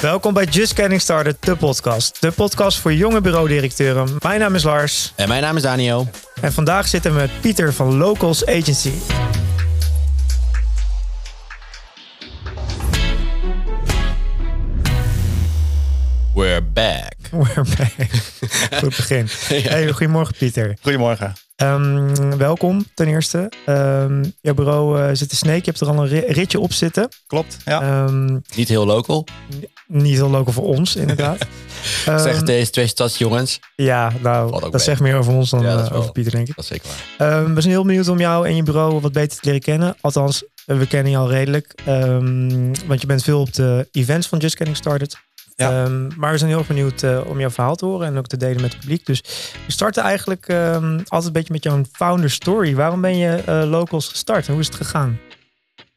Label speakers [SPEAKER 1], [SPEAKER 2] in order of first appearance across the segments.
[SPEAKER 1] Welkom bij Just Getting Started, de podcast. De podcast voor jonge bureaudirecteuren. Mijn naam is Lars
[SPEAKER 2] En mijn naam is Daniel.
[SPEAKER 1] en vandaag zitten we met Pieter van Locals Agency.
[SPEAKER 2] We're back.
[SPEAKER 1] We're back. Goed begin. Hey, goedemorgen Pieter.
[SPEAKER 3] Goedemorgen.
[SPEAKER 1] Ehm, welkom ten eerste. Ehm jouw bureau eh, zit in Sneek, je hebt er al een ri- ritje op zitten.
[SPEAKER 3] Klopt. Ja.
[SPEAKER 1] Ehm,
[SPEAKER 2] Niet heel local.
[SPEAKER 1] niet heel local voor ons inderdaad. Ehm,
[SPEAKER 2] Zeg deze twee stadsjongens.
[SPEAKER 1] ja, nou,
[SPEAKER 2] Valt ook
[SPEAKER 1] dat
[SPEAKER 2] mee.
[SPEAKER 1] zegt meer over ons dan
[SPEAKER 2] Ja, dat is
[SPEAKER 1] eh,
[SPEAKER 2] wel-
[SPEAKER 1] over Pieter denk ik.
[SPEAKER 2] Dat is zeker waar.
[SPEAKER 1] Ehm, we zijn heel benieuwd om jou en je bureau wat beter te leren kennen. Althans, eh, we kennen je al redelijk. ehm, want je bent veel op de events van Just Getting Started.
[SPEAKER 3] Ja.
[SPEAKER 1] Ehm, maar we zijn heel erg benieuwd eh, om jouw verhaal te horen en ook te delen met het publiek. Dus we starten eigenlijk ehm, altijd een beetje met jouw founder story. Waarom ben je eh, locals gestart en hoe is het gegaan?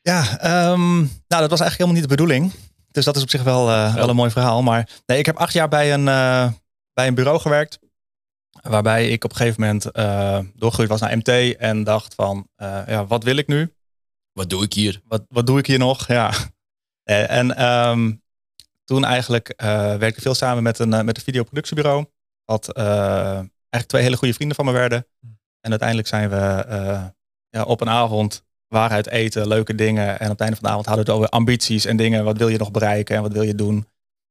[SPEAKER 3] Ja, ehm, nou, dat was eigenlijk helemaal niet de bedoeling. Dus dat is op zich wel, eh, wel een mooi verhaal. Maar nee, ik heb acht jaar bij een, eh, bij een bureau gewerkt. Waarbij ik op een gegeven moment eh doorgegroeid was naar MT. En dacht van, eh, ja, wat wil ik nu?
[SPEAKER 2] Wat doe ik hier?
[SPEAKER 3] Wat, wat doe ik hier nog? Ja. Eh, En ehm, toen eigenlijk eh, werkte ik veel samen met een, eh, met een videoproductiebureau. Had eh, eigenlijk twee hele goede vrienden van me werden. En uiteindelijk zijn we eh, ja, op een avond waarheid eten, leuke dingen. En aan het einde van de avond hadden we het over ambities en dingen. Wat wil je nog bereiken en wat wil je doen?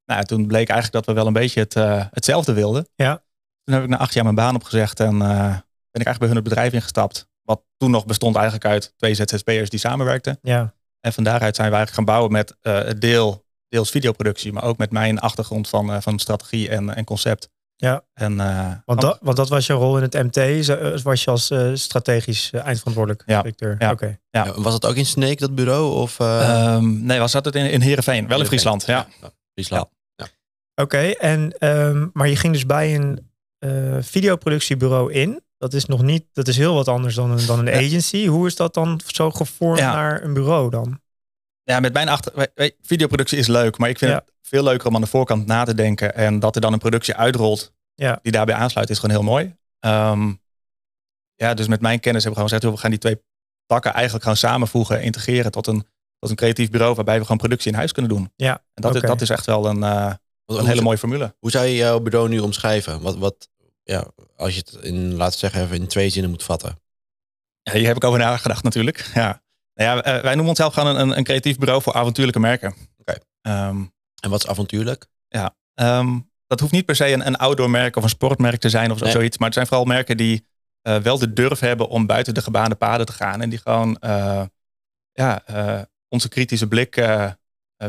[SPEAKER 3] Nou, toen bleek eigenlijk dat we wel een beetje het, eh, hetzelfde wilden.
[SPEAKER 1] Ja.
[SPEAKER 3] Toen heb ik na acht jaar mijn baan opgezegd en eh, ben ik eigenlijk bij hun het bedrijf ingestapt. Wat toen nog bestond eigenlijk uit twee ZZP'ers die samenwerkten.
[SPEAKER 1] Ja,
[SPEAKER 3] En van daaruit zijn we eigenlijk gaan bouwen met eh, het deel, deels videoproductie, maar ook met mijn achtergrond van, eh, van strategie en, en concept.
[SPEAKER 1] Ja.
[SPEAKER 3] En, eh,
[SPEAKER 1] want, dat, want dat was jouw rol in het MT. Zo- eh, Was je als eh, strategisch eh, eindverantwoordelijk
[SPEAKER 3] Ja,
[SPEAKER 1] directeur?
[SPEAKER 3] ja.
[SPEAKER 1] Oké.
[SPEAKER 3] Ja.
[SPEAKER 2] Ja, Was dat ook in Sneek, dat bureau? Of, eh,
[SPEAKER 3] ehm, nee, was dat het in, in Heerenveen? Wel in
[SPEAKER 2] Heerenveen?
[SPEAKER 3] Friesland, ja.
[SPEAKER 2] Friesland.
[SPEAKER 1] Oké, en ehm, maar je ging dus bij een eh, videoproductiebureau in. Dat is nog niet, dat is heel wat anders dan een, dan een
[SPEAKER 3] Ja.
[SPEAKER 1] agency. Hoe is dat dan zo gevormd
[SPEAKER 3] Ja.
[SPEAKER 1] naar een bureau dan?
[SPEAKER 3] Ja, met mijn achter... we- we- Videoproductie is leuk, maar ik vind
[SPEAKER 1] Ja.
[SPEAKER 3] het veel leuker om aan de voorkant na te denken. En dat er dan een productie uitrolt
[SPEAKER 1] Ja.
[SPEAKER 3] die daarbij aansluit, is gewoon heel mooi. Ehm, ja, dus met mijn kennis hebben we gewoon gezegd, joh, we gaan die twee takken eigenlijk gaan samenvoegen, integreren tot een, tot een creatief bureau waarbij we gewoon productie in huis kunnen doen.
[SPEAKER 1] Ja,
[SPEAKER 3] En dat,
[SPEAKER 1] oké.
[SPEAKER 3] is, dat is echt wel een, eh,
[SPEAKER 2] Wat-
[SPEAKER 3] een
[SPEAKER 2] hoe,
[SPEAKER 3] hele mooie formule.
[SPEAKER 2] hoe zou je jouw bureau nu omschrijven? Wat, wat, ja, als je het in, laten we zeggen, even in twee zinnen moet vatten.
[SPEAKER 3] Ja, hier heb ik over nagedacht natuurlijk. Ja. Nou ja, eh, wij noemen onszelf gewoon een- een, een creatief bureau voor avontuurlijke merken.
[SPEAKER 2] Oké.
[SPEAKER 3] Ehm,
[SPEAKER 2] En wat is avontuurlijk?
[SPEAKER 3] ehm, dat hoeft niet per se een, een outdoor merk of een sportmerk te zijn of zo-
[SPEAKER 2] Nee.
[SPEAKER 3] zoiets. Maar het zijn vooral merken die eh, wel de durf hebben om buiten de gebaande paden te gaan. En die gewoon eh, ja, eh, onze kritische blik eh, eh,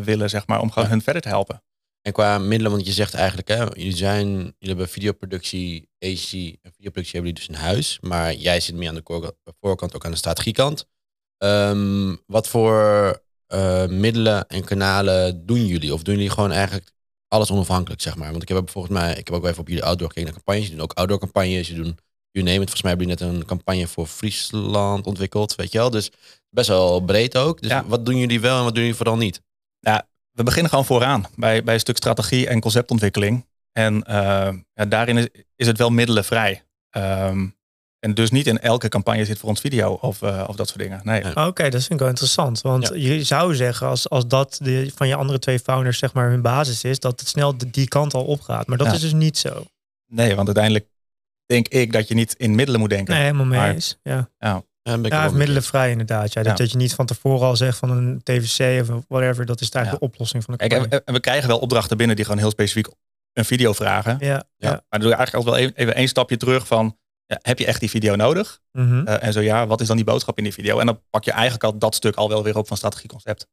[SPEAKER 3] willen, zeg maar, om gewoon
[SPEAKER 2] Ja.
[SPEAKER 3] hun verder te helpen.
[SPEAKER 2] En qua middelen, want je zegt eigenlijk, hè, jullie, zijn, jullie hebben videoproductie, agency, en videoproductie hebben jullie dus in huis. Maar jij zit meer aan de koor- voorkant, ook aan de strategiekant. Ehm, wat voor eh, middelen en kanalen doen jullie? Of doen jullie gewoon eigenlijk alles onafhankelijk, zeg maar? Want ik heb ook volgens mij, ik heb ook wel even op jullie outdoor gekeken naar campagnes. Jullie doen ook outdoor campagnes, jullie doen, you name it. Volgens mij hebben jullie net een campagne voor Friesland ontwikkeld, weet je wel. Dus best wel breed ook. Dus
[SPEAKER 3] Ja.
[SPEAKER 2] wat doen jullie wel en wat doen jullie vooral niet?
[SPEAKER 3] we beginnen gewoon vooraan bij, bij een stuk strategie en conceptontwikkeling. En eh, ja, daarin is, is het wel middelenvrij. Ehm, en dus niet in elke campagne zit voor ons video of, eh, of dat soort dingen. Nee.
[SPEAKER 2] Ja.
[SPEAKER 1] Oké, dat vind ik wel interessant. Want
[SPEAKER 3] Ja.
[SPEAKER 1] je zou zeggen, als, als dat de, van je andere twee founders zeg maar hun basis is, dat het snel de- die kant al opgaat. Maar dat
[SPEAKER 3] Ja.
[SPEAKER 1] is dus niet zo.
[SPEAKER 3] nee, want uiteindelijk denk ik dat je niet in middelen moet denken.
[SPEAKER 1] Nee, helemaal mee
[SPEAKER 3] Maar-
[SPEAKER 1] eens. Ja,
[SPEAKER 2] Ja, ben ik
[SPEAKER 1] ja
[SPEAKER 2] er wel
[SPEAKER 1] of
[SPEAKER 2] mee eens.
[SPEAKER 1] middelenvrij inderdaad. Ja, dat,
[SPEAKER 3] Ja.
[SPEAKER 1] dat je niet van tevoren al zegt van een TVC of whatever, dat is eigenlijk de oplossing van de
[SPEAKER 3] Kijk, en,
[SPEAKER 1] campagne.
[SPEAKER 3] en- en we krijgen wel opdrachten binnen die gewoon heel specifiek een video vragen.
[SPEAKER 1] Ja, ja.
[SPEAKER 2] Ja.
[SPEAKER 3] Maar dan doe je eigenlijk altijd wel even, even één stapje terug van... ja, heb je echt die video nodig?
[SPEAKER 1] Mhm.
[SPEAKER 3] Eh, en zo ja, wat is dan die boodschap in die video? En dan pak je eigenlijk al dat stuk al wel weer op van strategieconcept.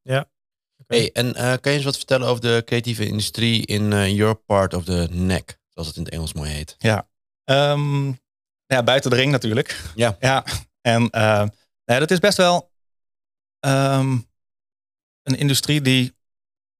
[SPEAKER 2] Hey, en eh, kan je eens wat vertellen over de creatieve industrie in eh, your part of the neck? Zoals het in het Engels mooi heet.
[SPEAKER 3] Ehm, nou ja, buiten de ring natuurlijk.
[SPEAKER 2] Ja.
[SPEAKER 3] ja. En eh, nou ja, dat is best wel ehm, een industrie die...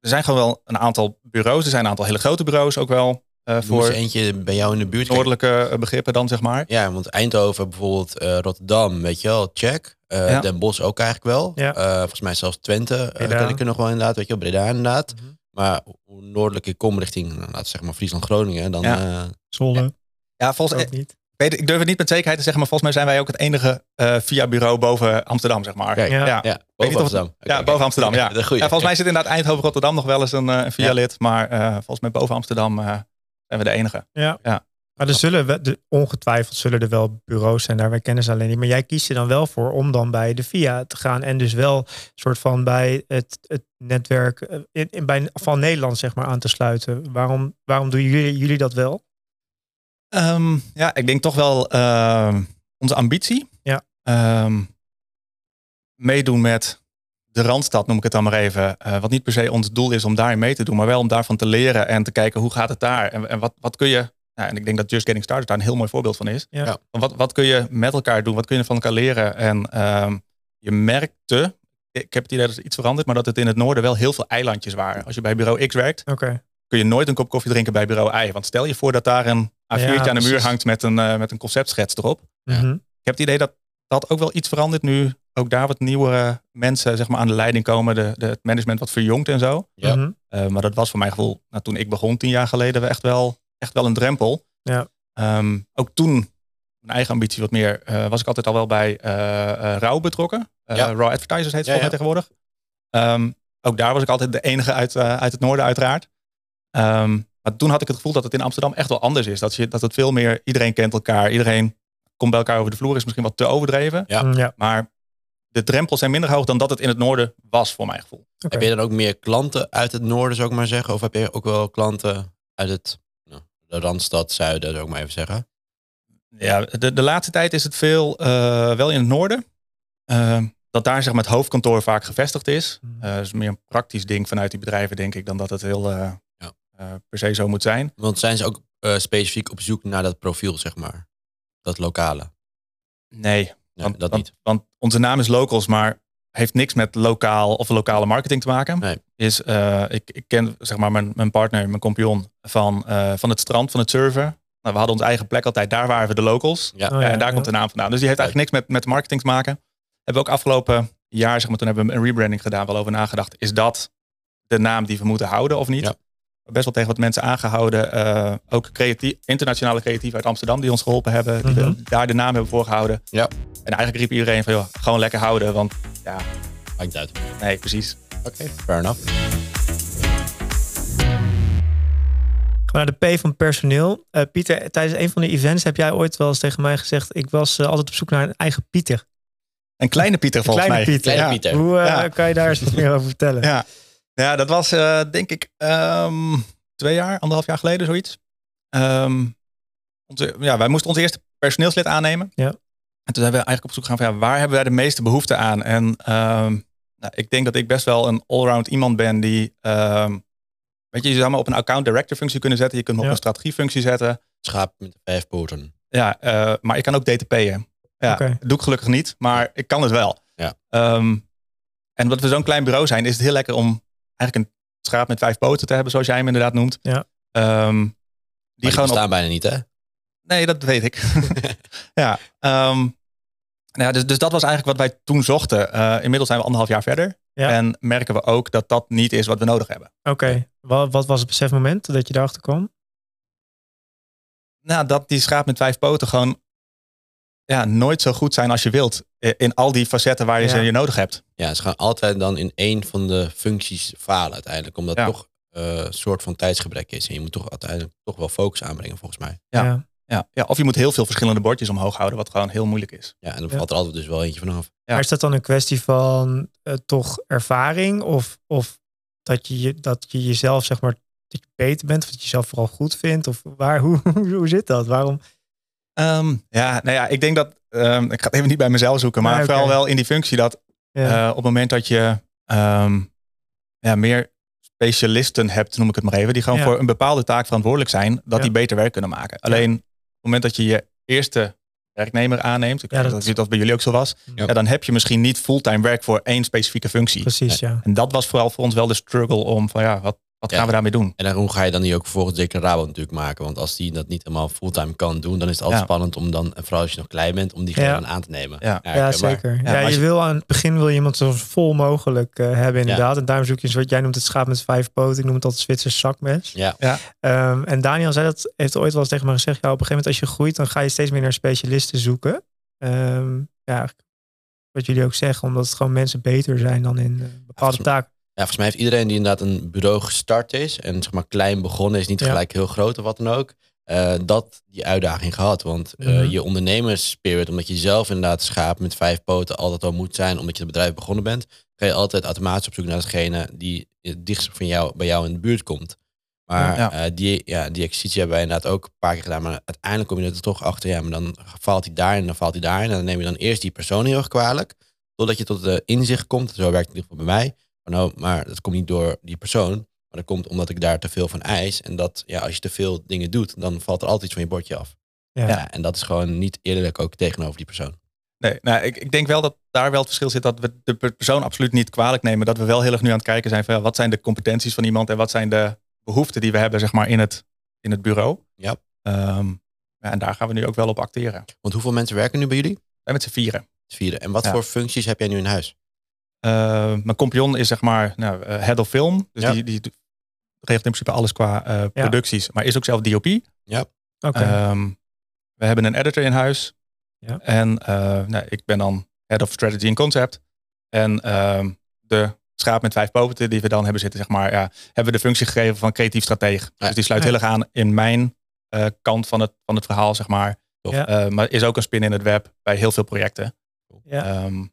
[SPEAKER 3] Er zijn gewoon wel een aantal bureaus. Er zijn een aantal hele grote bureaus ook wel. eh,
[SPEAKER 2] Voor
[SPEAKER 3] voor
[SPEAKER 2] eentje bij jou in de buurt. Kijk,
[SPEAKER 3] noordelijke eh, begrippen dan, zeg maar.
[SPEAKER 2] ja, want Eindhoven bijvoorbeeld, eh, Rotterdam, weet je wel, check. Eh,
[SPEAKER 3] Ja.
[SPEAKER 2] Den Bosch ook eigenlijk wel.
[SPEAKER 1] Ja.
[SPEAKER 2] Eh, volgens mij zelfs Twente eh,
[SPEAKER 1] Breda.
[SPEAKER 2] ken ik er nog wel inderdaad, weet je wel, Breda inderdaad.
[SPEAKER 1] Mhm.
[SPEAKER 2] Maar hoe noordelijker ik kom richting, nou, laten we zeggen maar Friesland, Groningen, dan...
[SPEAKER 3] Ja.
[SPEAKER 2] eh,
[SPEAKER 1] Zwolle,
[SPEAKER 3] Ja, volgens
[SPEAKER 1] ook niet.
[SPEAKER 3] Oh. Ik weet, ik durf het niet met zekerheid te zeggen, maar volgens mij zijn wij ook het enige eh via bureau boven Amsterdam, zeg maar.
[SPEAKER 2] Kijk,
[SPEAKER 1] Ja.
[SPEAKER 2] ja.
[SPEAKER 3] Ja. weet
[SPEAKER 2] boven
[SPEAKER 3] niet of-
[SPEAKER 2] Amsterdam.
[SPEAKER 3] ja, boven Amsterdam, ja.
[SPEAKER 2] De goeie.
[SPEAKER 3] Ja, volgens mij zit inderdaad Eindhoven Rotterdam nog wel eens een, eh, een via lid, maar eh, volgens mij boven Amsterdam eh, zijn we de enige.
[SPEAKER 1] Ja.
[SPEAKER 3] Ja.
[SPEAKER 1] Maar er zullen we, de, ongetwijfeld zullen er wel bureaus zijn daar. Wij kennen ze alleen niet. Maar jij kiest er dan wel voor om dan bij de VIA te gaan. En dus wel soort van bij het, het netwerk eh, in, in- bij, van Nederland zeg maar aan te sluiten. Waarom, waarom doen jullie, jullie dat wel?
[SPEAKER 3] Ehm, ja, ik denk toch wel ehm, onze ambitie.
[SPEAKER 1] Ja.
[SPEAKER 3] Ehm, meedoen met de Randstad, noem ik het dan maar even. Eh, wat niet per se ons doel is om daarin mee te doen, maar wel om daarvan te leren en te kijken hoe gaat het daar en, en wat, wat kun je. Nou, en ik denk dat Just Getting Started daar een heel mooi voorbeeld van is.
[SPEAKER 1] Ja.
[SPEAKER 2] Ja.
[SPEAKER 3] Van Wat, wat kun je met elkaar doen? Wat kun je van elkaar leren? En ehm, je merkte, ik heb het idee dat het iets veranderd, maar dat het in het noorden wel heel veel eilandjes waren. Als je bij bureau X werkt,
[SPEAKER 1] Oké.
[SPEAKER 3] kun je nooit een kop koffie drinken bij bureau I. Want stel je voor dat daar een A4'tje
[SPEAKER 1] Ja,
[SPEAKER 3] aan de muur
[SPEAKER 1] precies.
[SPEAKER 3] hangt met een, eh, met een conceptschets erop. Ik
[SPEAKER 2] Ja.
[SPEAKER 1] Mhm.
[SPEAKER 3] heb het idee dat dat ook wel iets verandert nu. Ook daar wat nieuwe mensen zeg maar, aan de leiding komen. De, de, het management wat verjongt en zo.
[SPEAKER 2] Ja.
[SPEAKER 1] Mhm.
[SPEAKER 3] Eh, maar dat was voor mijn gevoel, nou, toen ik begon tien jaar geleden, we echt wel, echt wel een drempel.
[SPEAKER 1] Ja.
[SPEAKER 3] Ehm, ook toen, mijn eigen ambitie wat meer, eh, was ik altijd al wel bij eh eh, Rauw betrokken. Eh,
[SPEAKER 2] Ja.
[SPEAKER 3] Raw Advertisers heet ze
[SPEAKER 2] Ja,
[SPEAKER 3] volgens mij tegenwoordig. Ehm, ook daar was ik altijd de enige uit, eh, uit het noorden uiteraard. Ehm, maar toen had ik het gevoel dat het in Amsterdam echt wel anders is. Dat, je, dat het veel meer, iedereen kent elkaar. Iedereen komt bij elkaar over de vloer, is misschien wat te overdreven.
[SPEAKER 2] Ja.
[SPEAKER 1] Mm, ja.
[SPEAKER 3] Maar de drempels zijn minder hoog dan dat het in het noorden was, voor mijn gevoel.
[SPEAKER 1] Oké.
[SPEAKER 2] Heb je dan ook meer klanten uit het noorden, zou ik maar zeggen? Of heb je ook wel klanten uit het nou, de Randstad, Zuiden, zou ik maar even zeggen?
[SPEAKER 3] Ja, de, de laatste tijd is het veel, eh, wel in het noorden. Eh, dat daar zeg maar, het hoofdkantoor vaak gevestigd is.
[SPEAKER 1] Mhm.
[SPEAKER 3] Eh, is meer een praktisch ding vanuit die bedrijven, denk ik, dan dat het heel eh,
[SPEAKER 2] Ja.
[SPEAKER 3] eh, per se zo moet zijn.
[SPEAKER 2] Want zijn ze ook eh, specifiek op zoek naar dat profiel, zeg maar? Dat lokale?
[SPEAKER 3] Nee,
[SPEAKER 2] Nee, dat niet.
[SPEAKER 3] Want onze naam is Locals, maar heeft niks met lokaal of lokale marketing te maken.
[SPEAKER 2] Nee.
[SPEAKER 3] Is, eh, ik, ik ken zeg maar mijn, mijn partner, mijn compagnon van, eh, van het strand, van het surfen. Nou, we hadden onze eigen plek altijd, daar waren we de locals.
[SPEAKER 2] Ja.
[SPEAKER 1] Oh,
[SPEAKER 3] Ja, en daar
[SPEAKER 1] ja.
[SPEAKER 3] komt de naam vandaan. Dus die heeft eigenlijk niks met, met marketing te maken. Hebben we ook afgelopen jaar, zeg maar, toen hebben we een rebranding gedaan, wel over nagedacht. Is dat de naam die we moeten houden of niet?
[SPEAKER 2] Ja.
[SPEAKER 3] Best wel tegen wat mensen aangehouden. eh, ook creatief, internationale creatieven uit Amsterdam die ons geholpen hebben. Die
[SPEAKER 1] Mhm.
[SPEAKER 3] we daar de naam hebben voor gehouden.
[SPEAKER 2] Ja.
[SPEAKER 3] En eigenlijk riep iedereen van, joh, gewoon lekker houden. Want ja,
[SPEAKER 2] Maakt uit.
[SPEAKER 3] nee, precies.
[SPEAKER 2] Oké, fair enough.
[SPEAKER 1] Gaan we naar de P van personeel. Eh, Pieter, tijdens een van de events heb jij ooit wel eens tegen mij gezegd... ik was eh, altijd op zoek naar een eigen Pieter.
[SPEAKER 3] En kleine Pieter volgens
[SPEAKER 1] kleine
[SPEAKER 3] mij.
[SPEAKER 1] Pieter.
[SPEAKER 2] Kleine
[SPEAKER 3] Ja.
[SPEAKER 2] Pieter.
[SPEAKER 1] Hoe eh,
[SPEAKER 3] Ja.
[SPEAKER 1] kan je daar eens wat meer over vertellen?
[SPEAKER 3] Ja. Ja, dat was eh, denk ik ehm, twee jaar, anderhalf jaar geleden, zoiets. Ehm, onze, ja, wij moesten ons eerste personeelslid aannemen.
[SPEAKER 1] Ja.
[SPEAKER 3] En toen zijn we eigenlijk op zoek gegaan van ja, waar hebben wij de meeste behoefte aan? En ehm, nou, ik denk dat ik best wel een allround iemand ben die, ehm, weet je, je zou me op een account director functie kunnen zetten. Je kunt me
[SPEAKER 1] Ja.
[SPEAKER 3] op een strategiefunctie zetten.
[SPEAKER 2] Schaap met vijf poorten.
[SPEAKER 3] Ja, eh, maar ik kan ook DTP'en. Ja,
[SPEAKER 1] Oké.
[SPEAKER 3] doe ik gelukkig niet, maar ik kan het wel.
[SPEAKER 2] Ja.
[SPEAKER 3] Ehm, en omdat we zo'n klein bureau zijn, is het heel lekker om eigenlijk een schaap met vijf poten te hebben, zoals jij hem inderdaad noemt.
[SPEAKER 1] Ja.
[SPEAKER 3] Ehm,
[SPEAKER 2] Die
[SPEAKER 3] die
[SPEAKER 2] gaan
[SPEAKER 3] gewoon op...
[SPEAKER 2] staan bijna niet, hè?
[SPEAKER 3] Nee, dat weet ik. ja. ehm, nou ja, dus, dus dat was eigenlijk wat wij toen zochten. Eh, inmiddels zijn we anderhalf jaar verder.
[SPEAKER 1] Ja.
[SPEAKER 3] En merken we ook dat dat niet is wat we nodig hebben.
[SPEAKER 1] Oké, wat, wat was het besefmoment dat je daarachter kwam?
[SPEAKER 3] Nou, dat die schaap met vijf poten gewoon ja, nooit zo goed zijn als je wilt. eh, In al die facetten waar je
[SPEAKER 1] Ja.
[SPEAKER 3] ze je nodig hebt.
[SPEAKER 2] Ja, ze gaan altijd dan in één van de functies falen uiteindelijk. Omdat
[SPEAKER 3] Ja.
[SPEAKER 2] toch eh, een soort van tijdsgebrek is. En je moet toch uiteindelijk toch wel focus aanbrengen, volgens mij.
[SPEAKER 3] Ja. Ja. ja, of je moet heel veel verschillende bordjes omhoog houden, wat gewoon heel moeilijk is.
[SPEAKER 2] Ja, en dan
[SPEAKER 1] Ja.
[SPEAKER 2] valt er altijd dus wel eentje vanaf.
[SPEAKER 3] Ja.
[SPEAKER 1] Maar is dat dan een kwestie van eh, toch ervaring? Of, of dat, je, je- dat je jezelf, zeg maar, dat je beter bent? Of dat je jezelf vooral goed vindt? Of waar, hoe, hoe zit dat? Waarom?
[SPEAKER 3] Ehm, ja, nou ja, ik denk dat, ehm, ik ga het even niet bij mezelf zoeken, maar
[SPEAKER 1] Nee, oké.
[SPEAKER 3] vooral wel in die functie dat
[SPEAKER 1] Ja.
[SPEAKER 3] eh, op het moment dat je ehm, ja, meer specialisten hebt, noem ik het maar even, die gewoon
[SPEAKER 1] Ja.
[SPEAKER 3] voor een bepaalde taak verantwoordelijk zijn, dat
[SPEAKER 1] Ja.
[SPEAKER 3] die beter werk kunnen maken. Alleen op het moment dat je je eerste werknemer aanneemt, ik
[SPEAKER 1] Ja,
[SPEAKER 3] weet
[SPEAKER 1] dat-
[SPEAKER 3] dat, dat bij jullie ook zo was,
[SPEAKER 2] Ja.
[SPEAKER 3] ja, dan heb je misschien niet fulltime werk voor één specifieke functie.
[SPEAKER 1] Precies, ja.
[SPEAKER 3] En dat was vooral voor ons wel de struggle om van ja, wat, Wat
[SPEAKER 2] Ja.
[SPEAKER 3] gaan we daarmee doen?
[SPEAKER 2] En daarom ga je dan die ook vervolgens zeker Rabo natuurlijk maken. Want als die dat niet helemaal fulltime kan doen, dan is het altijd
[SPEAKER 3] Ja.
[SPEAKER 2] spannend om dan, en vooral als je nog klein bent, om die
[SPEAKER 1] Ja.
[SPEAKER 2] gewoon aan te nemen.
[SPEAKER 3] Ja.
[SPEAKER 1] Ja,
[SPEAKER 2] herkenbaar.
[SPEAKER 1] zeker. Ja,
[SPEAKER 3] maar
[SPEAKER 1] je,
[SPEAKER 3] als je-
[SPEAKER 1] wil aan het begin wil je iemand zo vol mogelijk eh, hebben, inderdaad. En daarom zoek je, een soort- jij noemt het schaap met vijf poten, ik noem het altijd Zwitsers zakmes.
[SPEAKER 2] Ja.
[SPEAKER 1] Ehm, en Daniel zei dat, heeft ooit wel eens tegen me gezegd, ja, op een gegeven moment als je groeit, dan ga je steeds meer naar specialisten zoeken. Ehm, ja, eigenlijk wat jullie ook zeggen, omdat het gewoon mensen beter zijn dan in eh, bepaalde
[SPEAKER 2] Ja,
[SPEAKER 1] taken.
[SPEAKER 2] Ja, volgens mij heeft iedereen die inderdaad een bureau gestart is en zeg maar klein begonnen is, niet
[SPEAKER 1] Ja.
[SPEAKER 2] gelijk heel groot of wat dan ook, eh, dat die uitdaging gehad. Want eh,
[SPEAKER 1] Mhm.
[SPEAKER 2] je ondernemersspirit, omdat je zelf inderdaad schaap met vijf poten altijd al moet zijn, omdat je het bedrijf begonnen bent, ga je altijd automatisch op zoek naar degene die het dichtst van jou, bij jou in de buurt komt. Maar
[SPEAKER 3] Ja.
[SPEAKER 2] eh, die, ja, die exercitie hebben wij inderdaad ook een paar keer gedaan. Maar uiteindelijk kom je er toch achter. Ja, maar dan faalt hij daarin, dan faalt hij daarin. En dan neem je dan eerst die persoon heel erg kwalijk. Totdat je tot de inzicht komt. Zo werkt het in ieder geval bij mij. Van, oh, maar dat komt niet door die persoon. Maar dat komt omdat ik daar te veel van eis. En dat ja, als je te veel dingen doet, dan valt er altijd iets van je bordje af.
[SPEAKER 1] Ja.
[SPEAKER 2] Ja, en dat is gewoon niet eerlijk ook tegenover die persoon.
[SPEAKER 3] Nee, nou, ik, ik denk wel dat daar wel het verschil zit dat we de per- persoon absoluut niet kwalijk nemen. Dat we wel heel erg nu aan het kijken zijn van ja, wat zijn de competenties van iemand en wat zijn de behoeften die we hebben zeg maar, in, het, in het bureau.
[SPEAKER 2] Ja.
[SPEAKER 3] Ehm, ja, en daar gaan we nu ook wel op acteren.
[SPEAKER 2] Want hoeveel mensen werken nu bij jullie?
[SPEAKER 3] En met z'n vieren.
[SPEAKER 2] Het vierde. En wat
[SPEAKER 3] Ja.
[SPEAKER 2] voor functies heb jij nu in huis?
[SPEAKER 3] Eh, mijn compagnon is zeg maar nou, eh, head of film. Dus
[SPEAKER 2] Ja.
[SPEAKER 3] die, die doet- regelt in principe alles qua eh, producties. Maar is ook zelf DOP.
[SPEAKER 1] Oké.
[SPEAKER 3] Ehm, we hebben een editor in huis.
[SPEAKER 1] Ja.
[SPEAKER 3] En eh, nou, ik ben dan head of strategy en concept. En ehm, de schaap met vijf poten die we dan hebben zitten, zeg maar, ja, hebben we de functie gegeven van creatief strateeg.
[SPEAKER 2] Ja.
[SPEAKER 3] Dus die sluit
[SPEAKER 1] Ja.
[SPEAKER 3] heel erg aan in mijn eh, kant van het, van het verhaal, zeg maar.
[SPEAKER 2] Tof.
[SPEAKER 1] Ja.
[SPEAKER 3] Eh, maar is ook een spin in het web bij heel veel projecten.
[SPEAKER 1] Ja.
[SPEAKER 3] Ehm,